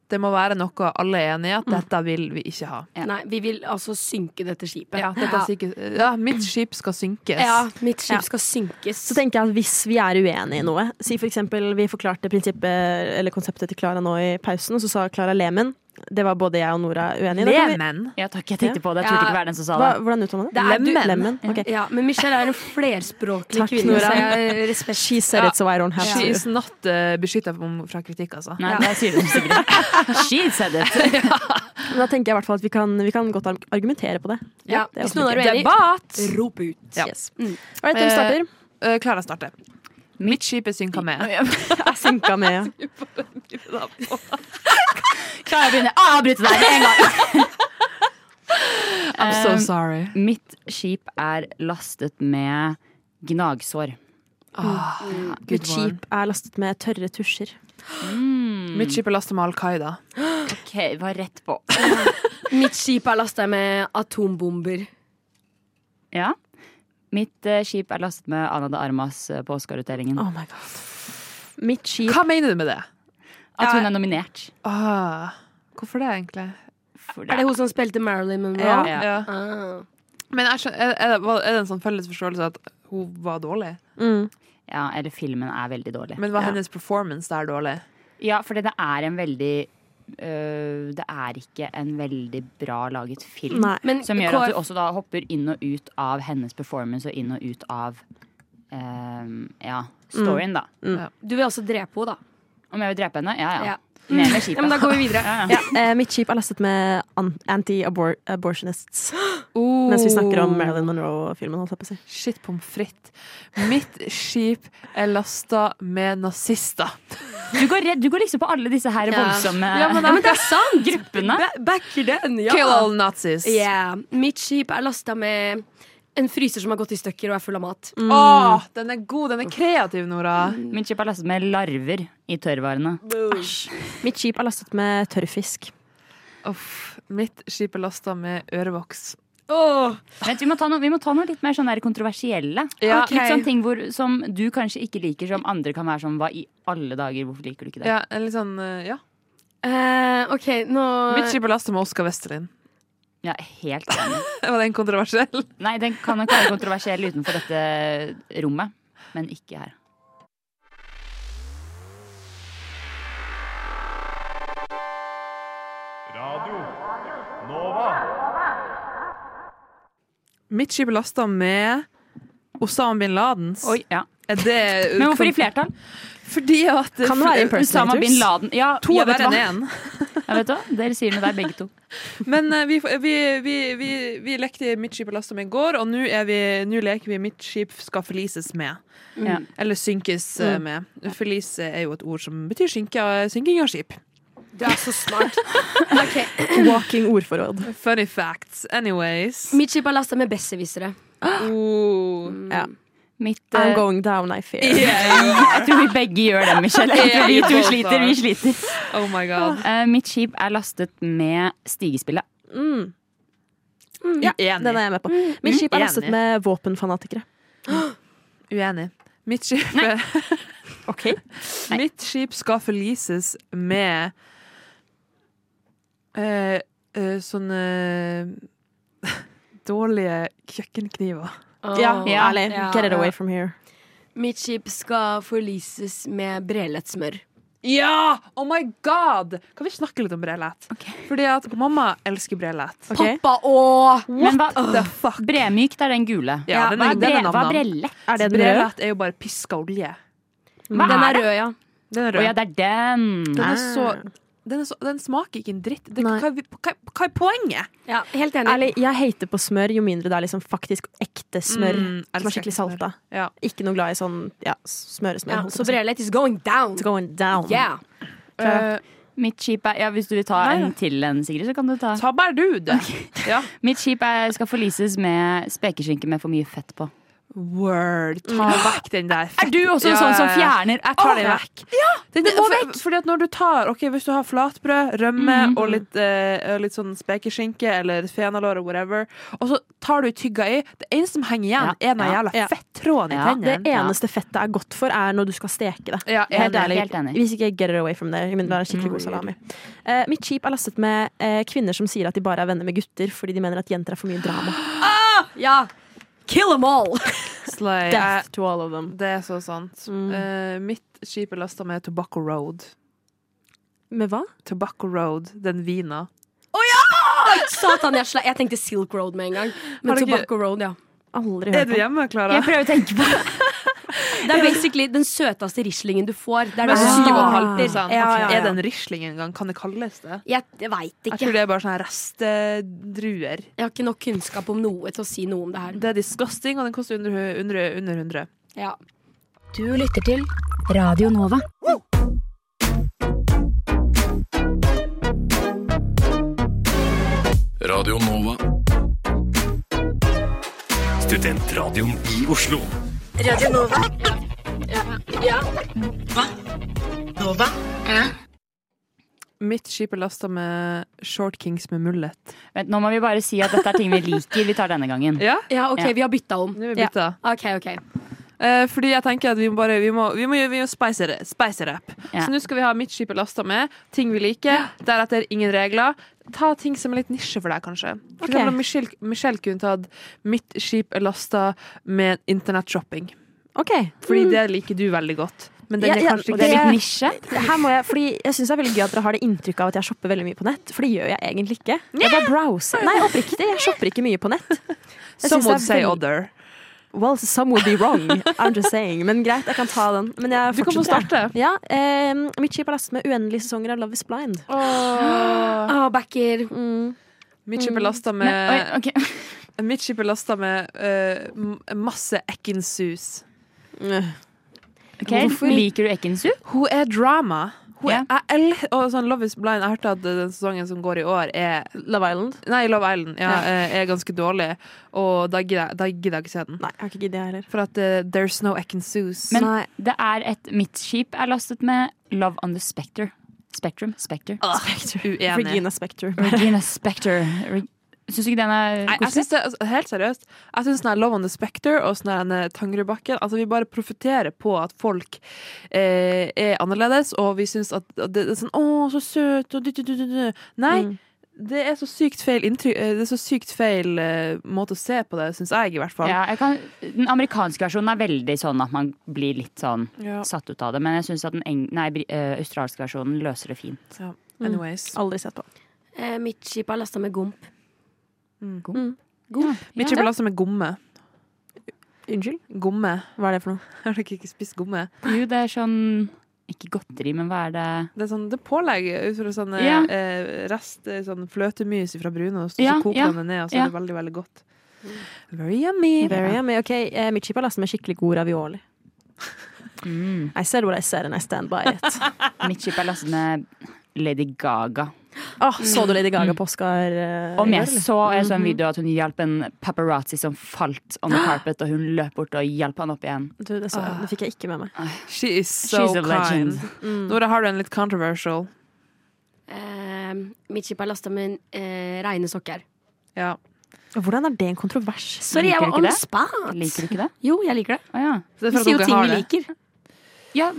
det må være noe alle er enig i at dette vil vi ikke ha.
Ja.
Nei, vi vil altså synke dette skipet.
Ja, dette sikkert- ja, mitt skip skal synkes.
Ja, mitt skip
Ja.
skal synkes.
Så tenker jeg at hvis vi er uenige i noe Si for eksempel, vi forklarte prinsippet Eller konseptet til Klara nå i pausen Og så sa Klara Lemen Det var både jeg og Nora uenige i Da kan vi-
Lemen.
Ja, takk, jeg tenkte på det. Jeg
Ja.
turte ikke være den som sa det.
Hva, Hvordan uttaler man det?
Det er du-
Lemen, Lemen. ok.
ja, men Michelle er en flerspråklig
Takk,
kvinne, så
Nora.
jeg respekt.
She said
Ja.
it, so I don't have
She
to
is not uh, beskytta fra kritikk, altså.
Nei, det sier du sikkert. She said it.
Men Da tenker jeg i hvert fall at vi kan, vi kan godt arg- argumentere på det
Ja,
det er
hvis
også
noen er
ikke-
uenig,
Rop ut.
Ja.
yes. All right, hvem starter?
Eh, Klara starter. Mitt skip er synka med.
Jeg synka med ja.
Klarer jeg å begynne å avbryte deg med en gang?
I'm so
Um,
sorry.
Mitt skip er lastet med gnagsår.
Ah, good
Mitt
one.
skip er lastet med tørre tusjer
Mm. Mitt skip er lasta med Al Qaida.
Hmm, Ok, var rett på.
Mitt skip er lasta med atombomber.
Ja. Mitt eh, skip er lastet med Ana de Armas eh, på Oscar-utdelingen.
Oh my god Mitt skip
Hva mener du med det?
At hun er nominert.
Ah, hvorfor det, egentlig?
For
Er det hun som spilte Marilyn Monroe?
Ja.
Ja.
Ah.
Men jeg skjønner, er, er, det, var- er det en sånn felles forståelse at hun var dårlig?
mm.
Ja, eller filmen er veldig dårlig.
Men var hennes performance der dårlig?
Ja, for det er en veldig øh, det er ikke en veldig bra laget film.
Nei. Men
som gjør at
KrF
du også da hopper inn og ut av hennes performance og inn og ut av øh, ja, storyen, da.
Du vil altså drepe henne, da?
Om jeg vil drepe henne? Ja, ja.
Ja.
Ned med skipet.
Ja, men da går vi videre.
Ja,
Ja,
ja.
eh, mitt skip er lastet med an- anti-abortionists. Mens vi snakker om Marilyn Monroe-filmen. holdt jeg på å si.
Shit pommes frites. Mitt skip er lasta med nazister.
Du, går redd, du går liksom på alle disse her
Ja.
voldsomme
Ja, men det er-
sant!
gruppene.
Ba- Backer den, ja.
Kill all Nazis.
Yeah. Mitt skip er lasta med en fryser som har gått i stykker og er full av mat.
Mm. Åh, den er god, den er kreativ, Nora.
Min skip er lastet med larver i tørrvarene.
Mitt skip er lastet med tørrfisk.
Uff, mitt skip er lasta med ørevoks.
Vent, vi må ta noe, vi må ta noe litt mer sånn der kontroversielle.
Ja.
Litt sånn ting hvor, som du kanskje ikke liker, som andre kan være sånn Hva i alle dager, hvorfor liker du ikke det?
Ja, en litt sånn, eh, ja.
Eh, OK, nå
Mitt skip er lasta med Oskar Westerlin.
Ja, helt enig.
Var den kontroversiell?
Nei, den kan nok være kontroversiell utenfor dette rommet, men ikke her.
Radio Nova.
Mitt skip er lasta med Osama bin Ladens.
Oi, ja.
Er det
Men hvorfor i flertall?
Fordi at eh,
Kan det være impersonators?
Osama bin Laden. Ja,
To
ja,
er
vet du
verre
hva?
enn én.
Ja, vet du hva? Dere sier noe der, begge to.
Men eh, vi, vi, vi, vi, vi lekte Mitt skip er lasta med i går, og nå er vi- nå leker vi Mitt skip skal forlises med.
Ja.
Eller synkes eh, med. Forlise er jo et ord som betyr synke, synking av skip.
Du er så smart.
Walking ordforråd.
Funny facts. Anyways.
Mitt skip er lasta med besserwissere.
Oh.
Ja.
Mitt,
I'm
eh,
going down, I fear.
jeg tror vi begge gjør det, Michelle. Jeg tror vi to sliter. Vi sliter.
oh my god.
Eh, mitt skip er lastet med stigespillet.
Mm. Ja,
Enig.
den er jeg med på. Mitt skip er
Enig.
lastet med våpenfanatikere.
Uenig. Mitt skip,
Ok. Nei.
mitt skip skal forlises med eh, eh, sånne dårlige kjøkkenkniver.
Ja,
Ja.
ærlig.
Ja.
Get it away from here.
Mitt skip skal forlises med brelet smør.
Ja! Oh my god! Kan vi snakke litt om brelett? Fordi at mamma elsker brelett.
Ok?
Pappa og
Men hva,
The fuck?
Bremykt er den gule.
Ja, den er-
hva
den er
bre- hva
navnet.
er brelle?
Er det den røde?
Brelett er jo bare piska olje.
Hva
Den er
er det?
rød, ja.
Den er
Å
rød.
ja, det er den.
den, er så, den, er så, den smaker ikke en dritt. Det,
Ah. Nei.
hva, er vi- hva, hva er poenget?
ja. Helt enig.
Ærlig, jeg hater på smør jo mindre det er liksom faktisk ekte smør.
Mm,
som
elsker
er skikkelig
ekte smør.
salta.
Ja.
Ikke noe glad i sånn ja, smøresmør.
Ja,
holdt
så
jeg på å si.
brelet is going down.
It's going down.
Yeah.
Eh,
Mitt skip er Ja, hvis du vil ta
Nei,
en til en, Sigrid, så kan du ta.
ta bare du det. Ja.
Mitt skip er, skal forlises med spekeskinke med for mye fett på.
Word. Ta vekk den der.
Er du også sånn som fjerner? Jeg
Ta
tar
den
det
vekk. Den, for, Fordi at når du tar Ok, Hvis du har flatbrød, rømme
Mhm.
og litt, eh, og litt sånn spekeskinke eller fenalår og whatever, og så tar du tygga i Det eneste som henger igjen,
Ja,
er den
ja,
jævla
ja.
fettråden i
Ja,
Det
tennene.
eneste fettet er godt for, er når du skal steke det.
Ja,
Helt
enig,
ærlig.
helt enig.
Hvis ikke get it away from there. Men det er en skikkelig god salami. Eh, mitt skip er lastet med eh, kvinner som sier at de bare er venner med gutter fordi de mener at jenter er for mye drama.
Ja. Kill them all.
Slay. Eh,
Death to all of them.
Det er så sant.
Mm.
Eh, mitt skip er lasta med Tobacco Road.
Med hva?
Tobacco Road, den vina.
Satan, jeg, sla- jeg tenkte Silk Road med en gang.
Har
Men
du ikke-
Tobacco Road, ja.
Aldri
Er
hørt
du
om.
hjemme, Klara?
Jeg prøver å tenke på det.
Det er basically den søteste rislingen du får. Det er
Men
den som starter.
7,5
Ja, ja, ja.
Er det en Riesling engang? Kan det kalles det?
Jeg, jeg veit
Jeg
ikke.
tror det er bare sånne restedruer.
Jeg har ikke nok kunnskap om noe til å si noe om det her.
Det er disgusting, og den koster under, under, under 100.
Ja.
Du lytter til Radio Nova.
Radio Nova. Studentradioen i Oslo.
Mitt skip er lasta med Short Kings med mullet.
Vent, nå må vi bare si at dette er ting vi liker. Vi tar denne gangen.
Ja,
ja, OK,
Ja.
vi har bytta om.
nå er vi
Ja.
bytta.
OK, OK.
Eh, fordi jeg tenker at vi må bare Vi må, vi må, vi må spice det spice det opp.
Ja.
Så nå skal vi ha mitt skip er lasta med ting vi liker. Deretter ingen regler. Ta ting som er litt nisje for deg, kanskje. For
Ok.
eksempel om Michelle, Michelle kunne tatt 'Mitt skip er lasta med internettshopping'.
Ok.
Fordi det liker du veldig godt. Men den er kanskje
Mm. og
ikke-
det
Det er-
Her må jeg, fordi jeg syns det er veldig gøy at dere har det inntrykket av at jeg shopper veldig mye på nett, for det gjør jeg egentlig ikke. Jeg bare browser. Nei, oppriktig, jeg shopper ikke mye på nett. Jeg
Some
syns det er
would say
veld-
other.
Well, some would be wrong. I'm just saying. Men greit, jeg kan ta den. Men jeg
Du kan få
fortsetter. Ja, eh, mitt skip er lastet med uendelige sesonger av Love is Blind.
Åh, backer. Mm.
Mitt
Mm.
skip er lasta med Mitt skip er lasta med eh, m- masse Ekkinsus.
Ok, Liker du Ekkinsu?
Hun er drama. Hun er, jeg el- og sånn Love is blind. Jeg hørte at den sesongen som går i år, er
Love Island?
Nei, Love Island ja,
Ja.
eh, er ganske dårlig. Og da gidder jeg- da gidder jeg ikke se den.
Nei, jeg har ikke giddet heller.
For at eh, there's no Ekkinsus.
Men det er et Mitt skip er lastet med Love on the Spectre. Spectrum? Spectre.
uenig.
Regina Spector.
Regina Spectre. Reg- Syns du ikke den
Nei,
er
jeg
koselig?
synes det, altså, helt seriøst Jeg synes den er Love on the Spectre og sånn her, eh, Tangerudbakken Altså vi bare profiterer på at folk eh, er annerledes Og vi synes at, at det er sånn Åh, så søt og du, du, du, du, du. Nei,
Mm.
det er så sykt feil inntrykk eh, Det er så sykt feil eh, måte å se på det Synes jeg i hvert fall
Ja, jeg kan, den amerikanske versjonen er veldig sånn at man blir litt sånn
Ja.
satt ut av det. Men jeg syns at den eng nei, bri- eh, australske versjonen løser det fint.
Ja. Anyways
Aldri sett på.
Eh, mitt skip er lasta med gomp. Mm.
Gomp?
Mitt skip er lastet med gomme
Unnskyld?
Gomme
Hva er det for noe?
Har dere ikke spist gomme?
Jo, det er sånn Ikke godteri, men hva er det?
Det er sånn, det pålegger ut fra sånn
Ja.
eh, rest, eh, sånn fløtemys fra brunost, og så
Ja,
koker
ja,
man det ned, og så
ja.
er det veldig, veldig godt. Very yummy.
Very yummy. Ok, eh, mitt skip er lastet med skikkelig god ravioli. I said what I said and I stand by it.
Mitt skip er lastet med Lady Gaga.
Åh, så du Lady Gaga på Oscar? eh,
Om
i år,
jeg
eller?
så, jeg så en
Mhm.
video at hun hjalp en paparazzi som falt on the carpet, og hun løp bort og hjalp han opp igjen.
Du, det, så, jeg. det fikk jeg ikke med meg.
She is so
She's a
kind.
legend.
Nora, har du en litt controversial?
Eh, mitt skip er lasta med eh, reine sokker.
Ja.
Hvordan er det en kontrovers?
Sorry, jeg
Liker
var
du
on
ikke det?
spot!
Liker du ikke det?
Jo, jeg liker det.
Å ja.
Så det er
Vi
for at
sier jo
dere
ting
har
vi
det.
liker.
Ja,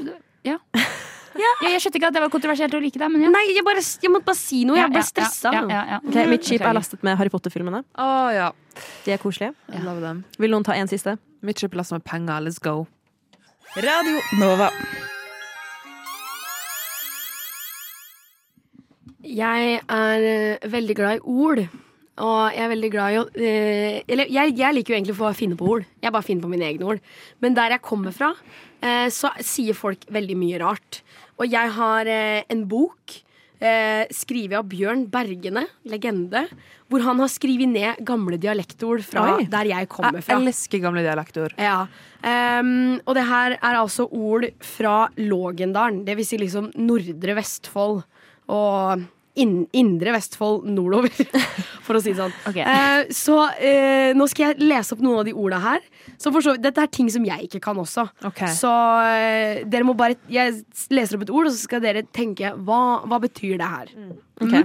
ja. Jeg, jeg skjønte ikke at det var kontroversielt å like det, men ja.
Nei, Mm, jeg, bare, jeg måtte bare si noe.
Ja,
Jeg
ja,
ble stressa.
Ja, ja, ja, ja.
Ok, mitt skip er
Beklager.
lastet med Harry Potter-filmene.
Å ja.
De er koselige.
I love them.
Vil noen ta en siste?
Mitt skip er lastet med penger. Let's go.
Radio Nova.
Jeg er eh, veldig glad i ord. Og jeg er veldig glad i å eh, Eller jeg, jeg liker jo egentlig å få finne på ord. Jeg bare finner på mine egne ord. Men der jeg kommer fra, eh, så sier folk veldig mye rart. Og jeg har eh, en bok eh, skrevet av Bjørn Bergene, legende, hvor han har skrevet ned gamle dialektord fra
Oi.
der jeg kommer
Jeg
fra.
elsker gamle dialektord.
Ja. ehm, og det her er altså ord fra Lågendalen, det vil si liksom Nordre Vestfold og inn, Indre Vestfold nordover, for å si det sånn.
Ok.
Eh, så eh, nå skal jeg lese opp noen av de orda her. Så for så, vidt- dette er ting som jeg ikke kan også.
Ok.
Så eh, dere må bare Jeg leser opp et ord, og så skal dere tenke hva, hva betyr det her.
Mhm.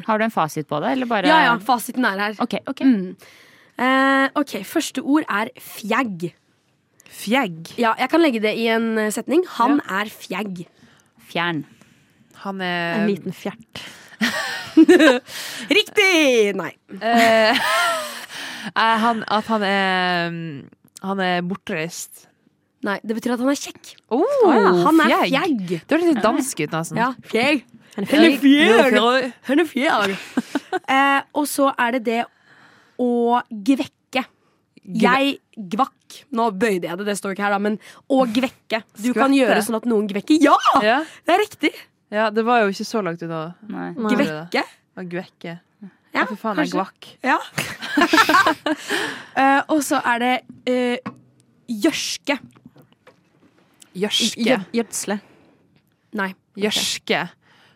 Har du en fasit på det, eller bare
Ja, ja, fasiten er her.
Ok, ok.
Mm. Eh, ok, Første ord er fjegg.
Fjegg.
Ja, jeg kan legge det i en eh, setning. Han er fjegg.
Fjern.
Han
En
er
liten fjert.
Riktig! Nei.
eh, eh, han, At han er mm, Han er bortreist.
Nei, Det betyr at han er kjekk.
Oh,
han er fjegg.
Du høres litt dansk ut, nesten.
Ja, fjegg.
En
Han er
fjert.
fjegg. Han er fjegg. eh, og så er det det å gvekke. Jeg gvakk. Nå bøyde jeg det, det står ikke her, da, men å gvekke. Du kan
Skvette.
gjøre sånn at noen gvekker. Ja!
Ja.
Det er riktig.
ja, det var jo ikke så langt unna.
Nei.
Gvekke.
Og gvekke.
Ja,
Ja, for faen, jeg
kanskje.
gvakk.
Ja. eh, og så er det eh, gjørske.
Gjørske.
Gjø- Gjødsle.
Nei.
Gjørske.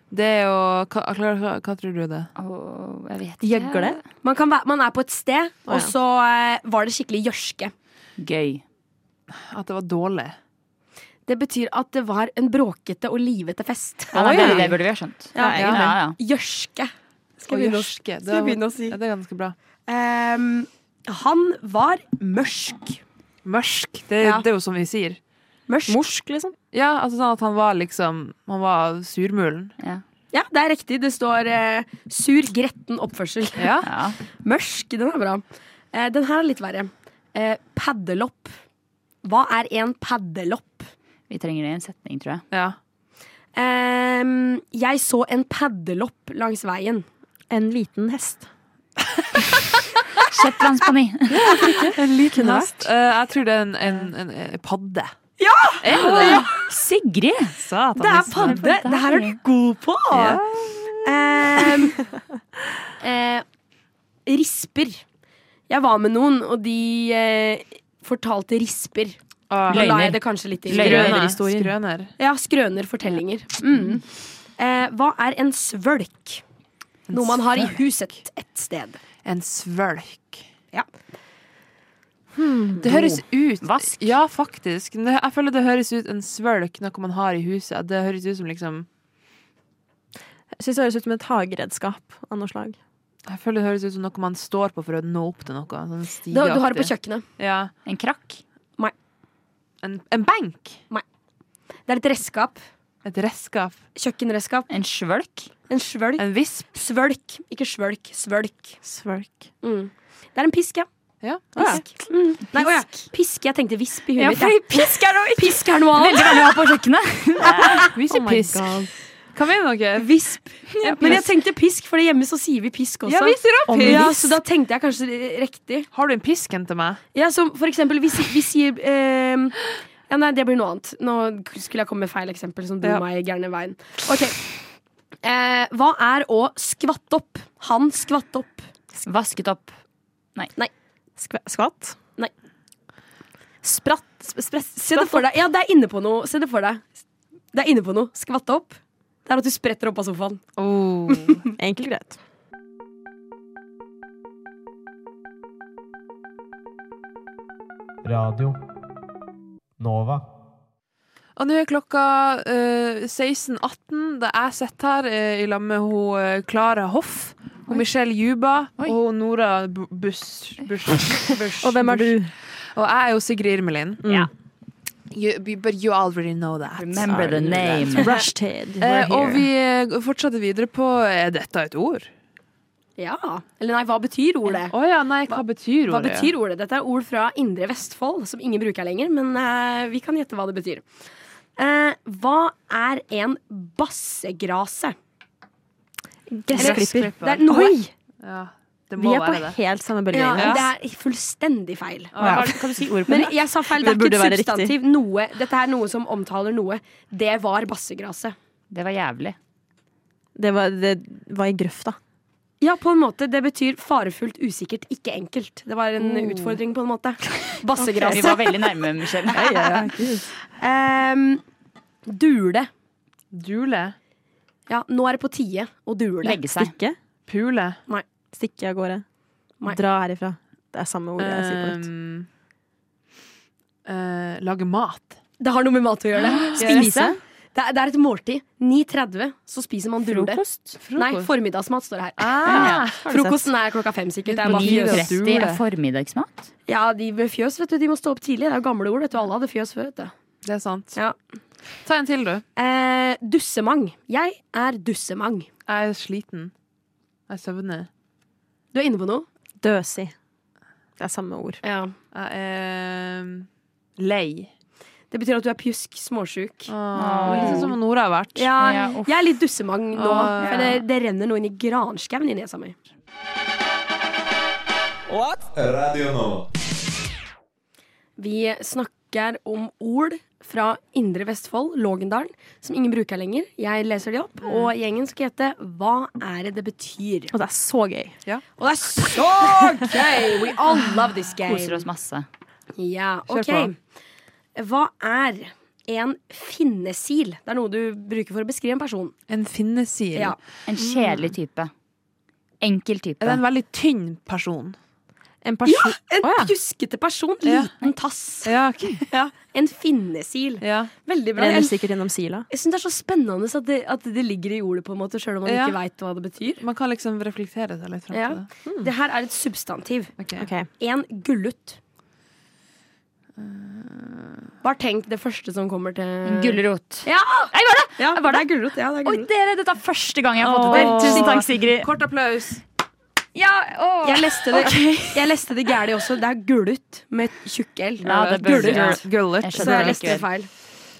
Det er jo hva, hva, hva, hva tror du det er?
Åh, jeg vet ikke.
Gjøgle.
Man, kan være, man er på et sted,
Å,
og
ja.
så eh, var det skikkelig gjørske.
Gøy.
At det var dårlig.
Det betyr at det var en bråkete og livete fest.
Ja, nei, det, det burde vi ha skjønt.
Ja,
ja,
egentlig.
ja.
Gjørske.
Og
Skal vi begynne å-
gjørske, det
skal vi
var-
begynne å si.
Ja, det er ganske bra.
Ehm, han var mørsk.
Mørsk. Det,
Ja.
det er jo som vi sier.
Mørsk.
Morsk, liksom.
Ja, altså sånn at han var liksom Han var surmulen.
Ja.
Ja, det er riktig. Det står eh, sur, gretten oppførsel.
Ja.
Ja.
Mørsk, den er bra. Eh, den her er litt verre. Eh, paddelopp. Hva er en paddelopp?
Vi trenger det i en setning, tror jeg.
Ehm, jeg så en paddelopp langs veien.
En liten hest.
Shetlandspani.
En liten
Kunne
hest. Eh, jeg tror det er en, en, en, en padde.
Ja!
Er det det?
Sigrid!
Satan,
Det er
liksom.
padde! Det her er du god på!
Ja.
Ehm, eh, risper. Jeg var med noen, og de eh, fortalte risper. Nå la jeg det kanskje litt i
Skrøner. Skrøner.
Ja, skrøner fortellinger. Mm. Eh, hva er en svølk?
En
Noe man har i
svølk?
huset et sted.
En svølk.
Ja.
Det høres ut Vask? Ja, faktisk. Men det- Jeg føler det høres ut en svølk, noe man har i huset. Det høres ut som liksom
Jeg synes det høres ut som et hageredskap av noe slag.
Jeg føler det høres ut som noe man står på for å nå opp til noe. Sånn
Du- du har det på
stigeaktig.
Kjøkkenet.
Ja.
En krakk?
Nei.
En, en benk?
Nei. Det er et redskap.
Et redskap?
Kjøkkenredskap.
En svølk?
En svølk.
En visp?
Svølk. Ikke svølk. Svølk.
Svølk.
Mm. Det er en pisk, ja.
Ja.
Pisk. Mm. Nei, å ja. pisk. Jeg tenkte visp i huet
Ja,
mitt.
fordi
pisk er noe Pisk er noe
Veldig veldig bra
annet.
på kjøkkenet.
Vi
Oh
sier pisk. Hva mener dere?
Visp. Men jeg tenkte pisk, for hjemme så sier vi pisk også.
Ja, vi sier også
Om-
pisk.
Ja, så da tenkte jeg kanskje riktig.
Har du en pisken til meg?
Ja, som for eksempel, vi, si- vi sier ehm, Ja, nei, det blir noe annet. Nå skulle jeg komme med feil eksempel som dro
Ja.
meg gærne veien. Ok. Eh, hva er å skvatte opp? Han skvatt opp.
Vasket opp. Nei.
skvatt?
Nei.
Spratt?
Se det for deg. Ja, det er inne på noe. Se det for deg. Det er inne på noe. Skvatte opp. Det er at du spretter opp av sofaen.
Oh.
Enkelt og greit.
Radio Nova.
Og nå er klokka eh, 16.18. Da jeg sitter her eh, i lag med hun eh, Klara Hoff, og Michelle Juba og hun Nora Bu- Buss. Buss, Buss
Og hvem er du?
Og jeg er jo Sigrid Irmelin. Mm. You, but you already know that.
Remember the name.
Rushtid.
Eh,
We're
og
here.
vi eh, fortsatte videre på Er dette et ord?
Ja. Eller nei, hva betyr ordet?
Å ja, nei, hva betyr
Hva
ordet?
betyr ordet? Dette er ord fra Indre Vestfold, som ingen bruker lenger, men eh, vi kan gjette hva det betyr. Eh, hva er en bassegrase?
Gressklipper.
Det er noe
Oi!
Ja,
vi er på helt samme bølge.
Ja, men
egentlig.
det er fullstendig feil.
Ja. Kan du si ordet på
Men
det?
jeg sa feil. Det er
Det
ikke
burde være
et substantiv. Noe, dette er noe som omtaler noe. Det var bassegraset.
Det var jævlig.
Det var, det var i grøfta.
Ja, på en måte. Det betyr farefullt, usikkert, ikke enkelt. Det var en
Oh.
utfordring, på en måte. Bassegraset.
Vi var veldig nærme, Michelle.
Ehm, dule.
Dule?
Ja, nå er det på tide å dule.
Legge seg.
Stikke?
Pule?
Nei.
Stikke av gårde.
Nei.
Dra herifra. Det er samme ordet jeg sier på nytt.
Um, eh, lage mat.
Det har noe med mat å gjøre.
Spise?
Det er, det er et måltid. 9.30, så spiser man dule.
Frokost?
Nei,
Frokost.
formiddagsmat står det her.
Ah, har du
Frokosten er klokka fem, sikkert. Det er bare fjøs.
9.30 er formiddagsmat.
Ja, de med fjøs, vet du. De må stå opp tidlig. Det er jo gamle ord. Vet du. Alle hadde fjøs før, vet du.
Det er sant.
Ja.
Ta en til, du.
Eh, dussemang. Jeg er dussemang.
Jeg er sliten. Jeg søvner.
Du er inne på noe.
Døsig. Det er samme ord.
Ja.
Jeg er um, lei.
Det betyr at du er pjusk, småsjuk.
Litt sånn som Nora har vært.
Ja, jeg er litt dussemang nå.
Ah, ja.
For det, det renner noe inn i granskauen i nesa mi.
Radio Nova.
Vi snakker om ord fra Indre Vestfold, Lågendalen, som ingen bruker lenger. Jeg leser de opp, og gjengen skal hete Hva er det det betyr?
Og det er så gøy.
Og det er så gøy! We all love this game.
Koser oss masse.
Ja,
Kjør
ok. Hva er en finnesil? Det er noe du bruker for å beskrive en person.
En finnesil.
Ja.
En kjedelig type. Enkel type.
Er det en veldig tynn person?
En
Ja, en pjuskete person.
Ja.
Liten tass.
Ja, ok.
Ja, En finnesil. Veldig bra.
Renner
Jeg,
sikkert gjennom sila.
jeg syns det er så spennende at det, at det ligger i ordet, på en måte, sjøl om man
Ja.
ikke veit hva det betyr.
Man kan liksom reflektere seg litt fram
Ja.
til det.
Det her er et substantiv.
Ok.
En gullut. Eh. Bare tenk det første som kommer til
En gulrot.
Ja!
Jeg var det!
Ja,
Jeg var
det
det.
er gulrot. Ja, det er
Oi,
gulrot.
dere, dette er første gang jeg har fått det til.
Åh.
Tusen takk, Sigrid.
Kort applaus.
Jeg leste det, jeg leste det gærlig også. Det er gullut med tjukk L.
Ja, det burde
Gulrot.
Gullet.
Så jeg leste det feil.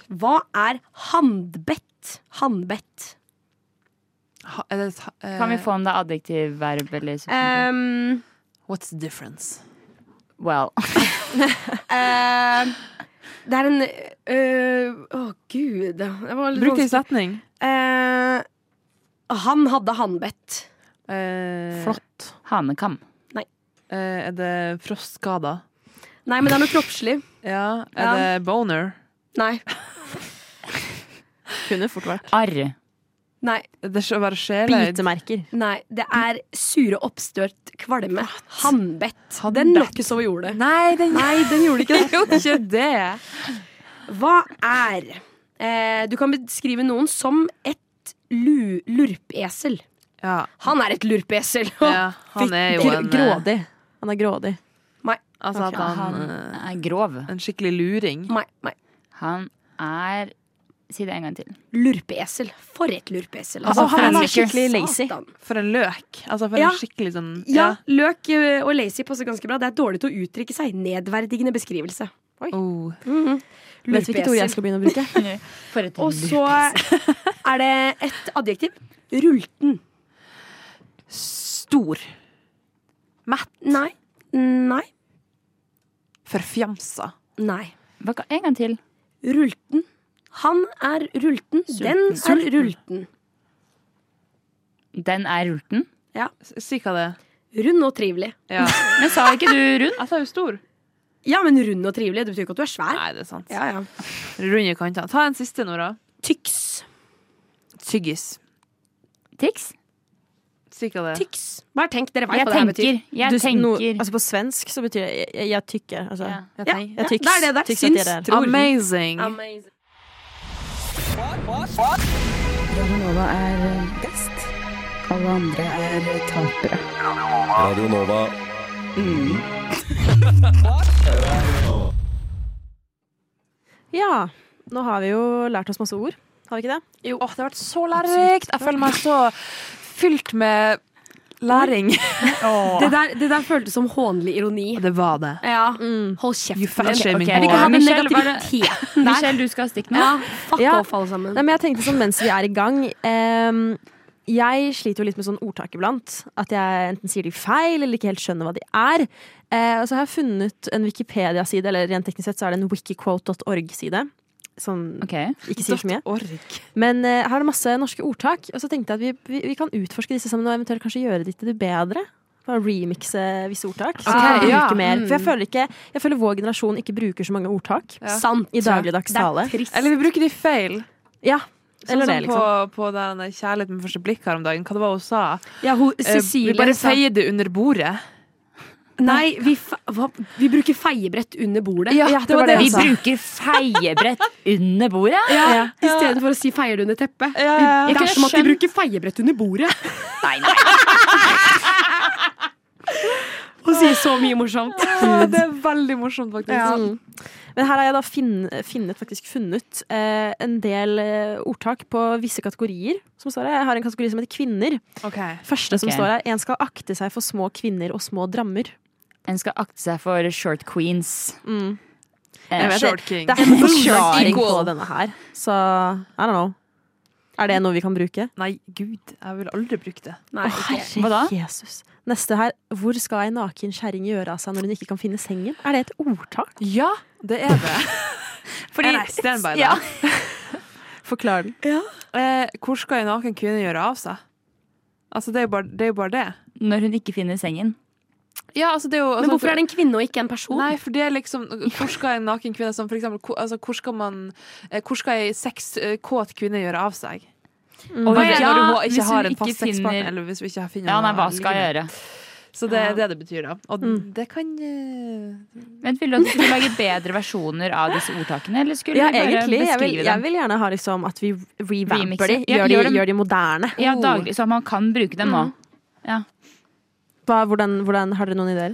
Hva er handbett? Handbett.
eh,
Kan vi få om det er adjektiv, verb
Eh.
eller substantiv?
Um,
What's the difference?
Well.
Eh, det er en øh, Å, gud. Det var litt
Bruk det i
vanskelig.
setning.
Eh, han hadde hannbett.
Flott.
Hanekam.
Nei.
Eh, er det frostskader?
Nei, men det er noe kroppslig.
Ja. Er
Ja.
det boner?
Nei.
Kunne fort vært.
Arr.
Nei.
Det skal være sjeløyd.
Bitemerker.
Nei, det er sure oppstøt kvalme. Hannbett. Den lå ikke så over jordet.
Nei, den,
gjorde ikke det.
ikke det.
Hva er eh, Du kan beskrive noen som et lu lurpesel. Han er et lurpesel!
Ja, han er jo
Gr-
en, eh,
Grådig.
Han er grådig.
Nei.
Altså at han,
er grov.
En skikkelig luring.
Nei, nei.
Han er Si det en gang til.
Lurpeesel. For et lurpeesel.
Altså,
Å,
for en
er
skikkelig lazy.
Satan.
For en løk. Altså for
Ja.
en skikkelig sånn
Ja, løk eh, og lazy passer ganske bra. Det er dårlig til å uttrykke seg. Nedverdigende beskrivelse.
Oh.
Mhm.
Vet hvilket ord jeg
Lurpeesel.
skal begynne å bruke?
Og så er det et adjektiv. Rulten.
Stor. Mett.
Nei. Nei.
Forfjamsa.
Nei.
En gang til.
Rulten. Han er rulten. Den
Sulten.
er rulten.
Den er rulten.
Ja.
Si hva det er.
Rund og trivelig.
Men sa ikke du rund?
Jeg sa jo stor.
Ja, men rund og trivelig. Det betyr ikke at du er svær.
Nei, det er sant.
Ja, ja.
Runde kanter. Ta en siste, Nora.
Tyks.
Tyggis.
Tix?
Si hva det er.
Tyks. Bare tenk, dere
Jeg
vet hva det her betyr.
tenker. Jeg tenker.
altså på svensk så betyr det jeg, jeg, jeg tykker. Altså.
Jeg
Ja,
tenker.
jeg
Ja,
tyks,
det er det der.
tyks at jeg
Syns,
er der.
tror. Amazing.
Amazing.
Radionova er best. Alle andre er tapere.
Radio Nova.
Ja. Nå har vi jo lært oss masse ord. Har vi ikke det?
Åh, det har vært så lærerikt! Jeg føler meg så fylt med læring.
Det der, det der føltes som hånlig ironi. Mm.
Det var det.
Ja. Hold kjeft.
You fat shaming
Vi kan ha
whore.
den
Michelle, var det-
negativiteten der.
Michelle, du skal ha stikk nå?
Ja, fuck
Ja.
off, alle sammen.
Nei, men jeg tenkte sånn mens vi er i gang ehm, Jeg sliter jo litt med sånn ordtak iblant. At jeg enten sier de feil, eller ikke helt skjønner hva de er. Eh, og så har jeg funnet en Wikipedia-side, eller rent teknisk sett så er det en wikiquote.org-side. Som
Ok.
ikke sier så mye.
Org.
Men eh, her er det masse norske ordtak. Og så tenkte jeg at vi, vi, vi kan utforske disse sammen, og eventuelt kanskje gjøre de til det bedre. Bare remixe visse ordtak. Så kan
Ok,
vi
ja.
bruke mer. For
Mm.
jeg føler, ikke, jeg føler vår generasjon ikke bruker så mange ordtak
Sant.
i dagligdags tale.
Eller vi bruker de feil.
Ja.
Sånn
Eller
som
det, liksom.
på, på den kjærligheten med første blikk her om dagen. Hva det var hun sa?
Ja, hun,
Eh,
Cecilie
vi bare
sa-
feier det under bordet.
Nei, vi, fe hva? vi bruker feiebrett under bordet.
Ja, det var det
Vi
jeg sa.
bruker feiebrett under bordet.
Ja, I stedet for å si 'feier du under teppet'.
ja, ja.
Vi- Det er
Jeg kunne
som at vi
skjønt-
bruker feiebrett under bordet
Nei, nei.
og sier så mye morsomt.
Ja, det er veldig morsomt, faktisk.
Mm. Men her har jeg da finn- finnet, faktisk funnet eh, en del eh, ordtak på visse kategorier. Som står her. Jeg har en kategori som heter kvinner.
Ok.
Første som
Ok.
står her, en skal akte seg for små kvinner og små drammer.
En skal akte seg for short queens.
Mm.
Eh,
Jeg vet
Short
det-
king.
Det er ikke noen
Short
forklaring på
equal.
denne her. Så I don't know. Er det noe vi kan bruke?
Nei, gud, jeg ville aldri brukt det.
Nei,
Å,
ikke.
herre
Hva da?
Jesus. Neste her. Hvor skal ei naken kjerring gjøre av seg når hun ikke kan finne sengen? Er det et ordtak?
Ja, det er det.
Fordi-
Nei, stand by
Ja.
that.
Forklar den.
Eh, hvor skal en naken kvinne gjøre av seg? Altså, det er jo bare det. Er jo bare det.
Når hun ikke finner sengen.
Ja, altså, det er jo,
Men hvorfor er det en kvinne og ikke en person?
Nei, for det er liksom Hvor skal en naken kvinne som for eksempel, hvor- altså, Hvor skal man eh, Hvor skal ei sex eh, kåt kvinne gjøre av seg? Og det er
Mm.
når
Ja,
hun
hvis
ikke
hun
har en
ikke
fast sexpartner,
finner-
eller hvis vi ikke finner
Ja, nei,
noen
hva skal jeg gjøre? Mm.
Så det er det det betyr, da. Og det kan eh,
Vent, Vil du at vi skulle lage bedre versjoner av disse ordtakene, eller skulle
Ja,
vi bare
egentlig. Jeg vil,
beskrive
jeg
dem?
vil gjerne ha liksom at vi
Remixer.
revamper de.
Ja,
Gjør,
gjør
de,
dem-
gjør de moderne.
Ja, daglig, så man kan bruke dem nå. Ja.
Hva, hvordan, hvordan, har dere noen ideer?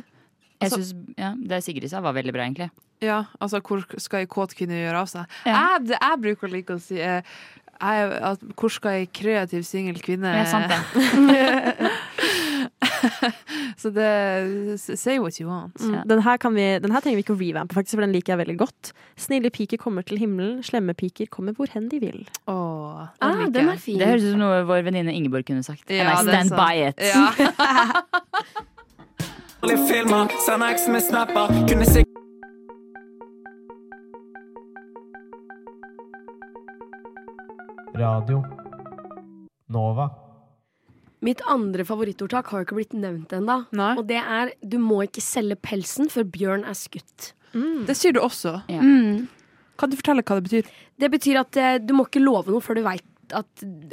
Jeg
Altså-
synes, ja, det Sigrid sa, var veldig bra, egentlig.
Ja, altså, hvor skal ei kåt kvinne gjøre av seg?
Ja.
Jeg, det, jeg bruker å like å si eh, Eh. jeg, at, Hvor skal ei kreativ singel kvinne
Ja, sant det.
Så det Say what you want.
Mm. Den, her kan vi, den her trenger vi ikke å revampe, faktisk, for den liker jeg veldig godt. Snille piker kommer til himmelen, slemme piker kommer hvor hen de vil.
Åh,
den Ah, liker den er jeg. fin. Det høres ut som noe vår venninne Ingeborg kunne sagt.
Ja,
And I
det er
stand
sant.
by it.
Ja.
Alle filmer, sender X med snapper Kunne sikk...
Radio Nova.
Mitt andre favorittordtak har jo ikke blitt nevnt ennå. Og det er 'du må ikke selge pelsen før bjørn er skutt'.
Det sier du også.
Ja. Mm.
Kan du fortelle hva det betyr?
Det betyr at eh, du må ikke love noe før du veit at,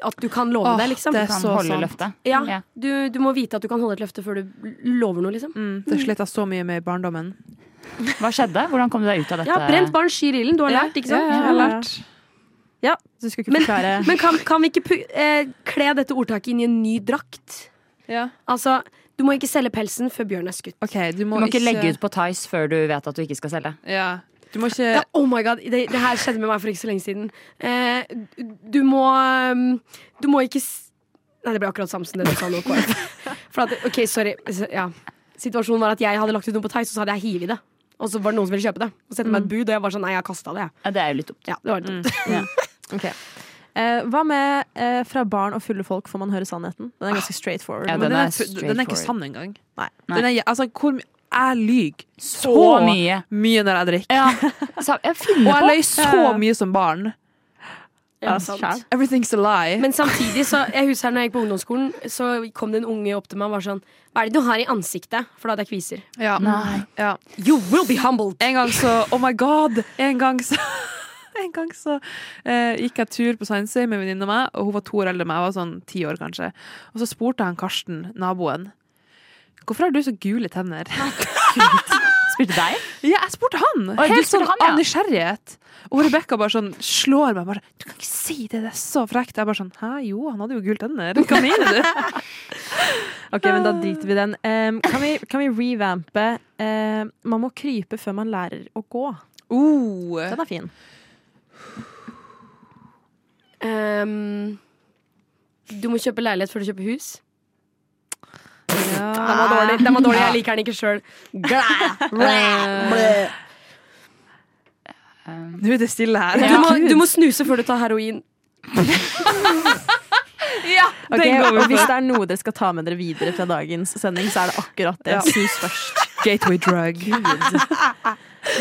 at du kan love
Åh,
det. Liksom.
det er Du kan så holde sant. løftet.
Ja,
Ja.
du, du må vite at du kan holde et løfte før du lover noe, liksom.
Det slet jeg så mye med i barndommen.
Hva skjedde? Hvordan kom du deg ut av dette?
Ja, brent barn skyr ilden. Du har
Ja,
lært, ikke sant?
ja, ja, jeg har lært.
Ja, du skal ikke
Men,
forklare
men kan, kan vi ikke pu eh, kle dette ordtaket inn i en ny drakt? Altså, du må ikke selge pelsen før bjørn er skutt.
du
Du må ikke legge ut på Tice før du vet at du ikke skal selge.
Du må ikke
ja, Oh my god, det, det her skjedde med meg for ikke så lenge siden. Eh, du må um, Du må ikke s Nei, det ble akkurat samme som det du sa nå. Kåre. For at, ok, sorry. Så, Ja. Situasjonen var at jeg hadde lagt ut noe på Theis, og så hadde jeg hivet det. Og så var det noen som ville kjøpe det. Og sette meg et bud, og jeg var sånn, nei, jeg har kasta det.
Ja, det er jo litt dumt.
Ja, det var litt dumt.
Ok. Eh, hva med eh, 'Fra barn og fulle folk får man høre sannheten'? Den er ganske straightforward.
Ja, Men den den er er fu- den er ikke straightforward. sann engang.
Nei.
Den er, altså, hvor, my- jeg lyver så,
Så
mye.
når jeg drikker.
finner
Og jeg
på.
løy så
Ja.
mye som barn.
Ja, sant.
Everything's a lie.
Men samtidig, så jeg husker her når jeg gikk på ungdomsskolen, så kom det en unge opp til meg og var sånn Hva er det du har i ansiktet? For da hadde jeg kviser.
Ja.
Nei.
Ja.
You will be humbled.
En gang så Oh my god! En gang så en gang så eh, gikk jeg tur på Sandsøy med en venninne av meg, og hun var to år eldre enn meg. Jeg var sånn ti år, kanskje. Og så spurte han Karsten, naboen, hvorfor har du så gule tenner?
Spurte deg?
Ja, jeg spurte han!
Oi, du
Helt
spurte
sånn
han, ja.
av nysgjerrighet. Og Rebekka bare sånn slår meg. Bare, du kan ikke si det, det er så frekt. Jeg bare sånn Hæ, jo, han hadde jo gule tenner. Hva mener du?
Ok, men da driter vi i den. Eh, kan, vi, kan vi revampe eh, 'Man må krype før man lærer å gå'?
Oh.
Den er fin.
Ehm, du må kjøpe leilighet før du kjøper hus. Den var
Ah.
dårlig. Den var dårlig. Jeg liker den ikke Ehm, sjøl. Du,
Nå er det stille her.
må- du må snuse før du tar heroin. ja,
Ok,
den går vi
og hvis
for.
det er noe dere skal ta med dere videre fra dagens sending, så er det akkurat det.
Ja.
Snus først.
Gateway drug.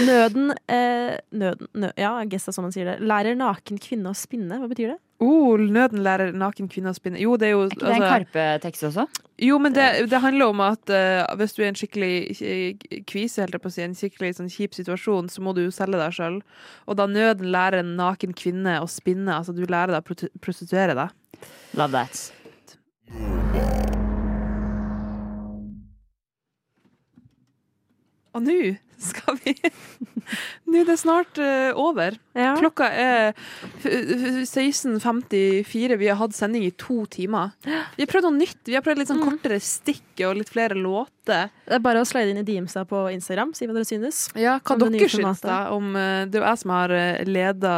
Nøden, eh, nøden nø, Ja, jeg gessa som man sier det. Lærer naken kvinne å spinne. Hva betyr det?
Oh, nøden lærer naken kvinne å spinne. Jo, det er jo altså,
Det er en Karpe-tekst også.
Jo, men det, det handler om at eh, hvis du er i en skikkelig eh, kvise, helt jeg på å si, en skikkelig sånn kjip situasjon, så må du jo selge deg sjøl. Og da nøden lærer en naken kvinne å spinne, altså du lærer deg å protu- prostituere deg.
Love that.
Og nå skal vi Nå er det snart eh, over. Klokka er f- f- 16.54. Vi har hatt sending i to timer. Vi har prøvd noe nytt. Vi har prøvd litt sånn kortere stikk og litt flere låter.
Det er bare å slide inn i DMs-a på Instagram, si hva dere synes.
Ja, hva
Om det nye
dere syns
formatet.
da om eh, Det er jo jeg som har leda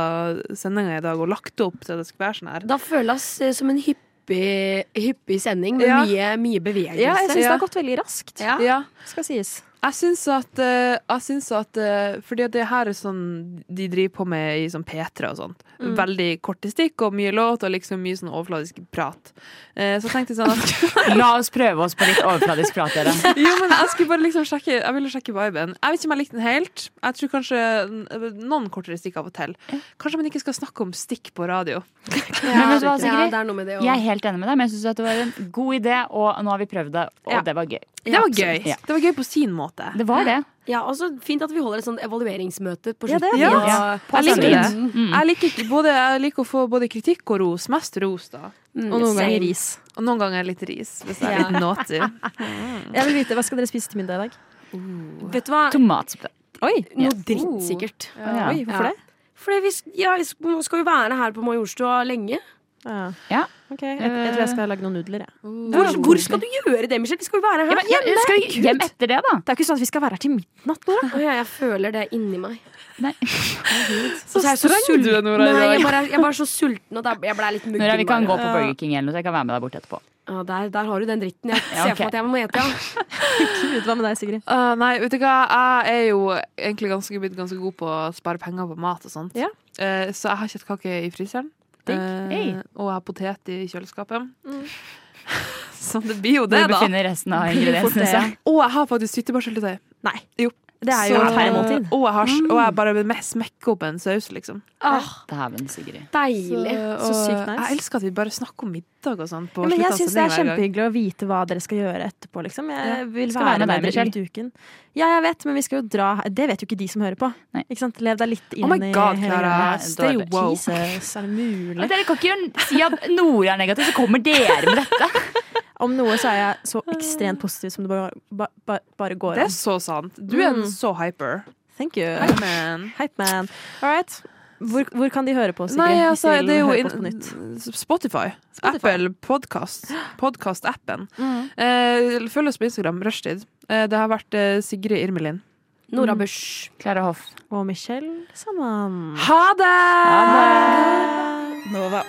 sendinga i dag og lagt opp til at det skal være sånn her.
Da føles det som en hyppig, hyppig sending med
Ja.
mye, mye bevegelse.
Ja, jeg synes det har gått
veldig raskt.
Ja.
Skal sies.
Jeg syns at, eh, jeg syns at eh, Fordi at det her er sånn de driver på med i sånn P3 og sånt.
Mm.
Veldig korte stikk og mye låt og liksom mye sånn overfladisk prat. Eh, Så jeg tenkte sånn at
La oss prøve oss på litt overfladisk prat, dere.
Jo, men jeg skulle bare liksom sjekke Jeg ville sjekke viben. Jeg vet ikke om jeg likte den helt. Jeg tror kanskje n- noen kortere stikk av og til. Kanskje man ikke skal snakke om stikk på radio.
Men vet du hva,
Ja,
Sigrid?
det er noe med det også.
jeg er helt enig med deg, men jeg syns det var en god idé, og nå har vi prøvd det, og
Ja.
det var gøy.
Det var gøy.
Ja.
Det var gøy på sin måte.
Det var det.
Ja, og så Fint at vi holder et sånt evalueringsmøte på
Ja,
slutten.
ja.
av-
Jeg liker det.
Mm.
Jeg liker, ikke både, jeg liker å få både kritikk og ros. Mest ros, da.
Mm,
og noen
same.
ganger ris. Og noen ganger litt ris, hvis jeg er
Ja.
litt naughty.
Mm. Jeg vil vite, Hva skal dere spise til middag i dag?
Vet du hva?
Tomatsuppe.
Oi!
Noe dritt, sikkert.
Ja. Oi, hvorfor det?
Fordi vi sk- ja, vi sk- skal jo være her på Majorstua lenge.
Ja.
Ok, jeg, jeg tror jeg skal lage noen nudler, jeg.
Hvor, hvor skal du gjøre det, Michelle? Vi skal jo være her hjemme!
hjem etter det, da?
Det er ikke sånn at vi skal være her til midnatt, Nora.
Å ja, jeg føler det inni meg.
Nei.
Så er jeg så
streng du er,
sulten.
Nora, i
Nei,
dag.
jeg, bare, jeg er bare så sulten, og da, jeg ble litt muggen.
Nora, vi kan
bare.
gå på Burger King eller noe, så jeg kan være med deg bort etterpå.
Ja, der, der har du den dritten. Jeg ser for meg at jeg må gjete, ja.
Gud, hva med deg, Sigrid?
Ah, nei, vet du hva, jeg er jo egentlig ganske, blitt ganske god på å spare penger på mat og sånt. Eh, så jeg har kjøttkake i fryseren.
Digg.
Eh,
Hey.
og jeg har potet i kjøleskapet.
Mm.
Så det blir jo det,
Hvor
da.
befinner resten av
Blir fort
ingrediensene
det.
seg?
Og jeg har faktisk syttebærsyltetøy.
Nei.
Jo.
Det er jo
Så-
et Mm. feilmåltid.
Og jeg, har, og jeg bare vil mest smekke opp en saus, liksom.
Dæven, Sigrid.
Deilig.
Så,
Så sykt
og
nice.
Jeg elsker at vi bare snakker om middag og sånn. på
Ja, men jeg
slutten av
syns det er
sendingen hver gang.
kjempehyggelig å vite hva dere skal gjøre etterpå, liksom. Jeg
Ja.
vil
Skal
være,
være med
med
deg,
dere ut i uken. Ja, jeg vet, men vi skal jo dra Det vet jo ikke de som hører på. Ikke sant? Lev deg litt inn
Oh my
i
God,
hele
Clara.
greia.
Stay
Jesus,
woke.
er det
Men
mulig?
Dere kan ikke gjøre- si at Nora er negativ, så kommer dere med dette.
Om noe så er jeg så ekstremt positiv som det bare, ba, ba, bare går
Det er så sant. Du er
Mm.
en så hyper.
Thank you.
Hype man.
Hype man. All right. Hvor, hvor kan de høre på, Sigrid?
Nei,
hvis de
altså,
vil
det er jo
høre på oss på nytt?
inn- Spotify. Apple Podcast. Podcast-appen.
Mm.
Eh, følg oss på Instagram, rushtid. Eh, det har vært eh, Sigrid Irmelin.
Nora
Busch. Klara Hoff.
Mm. Og Michelle Saman.
Ha det!
Nova.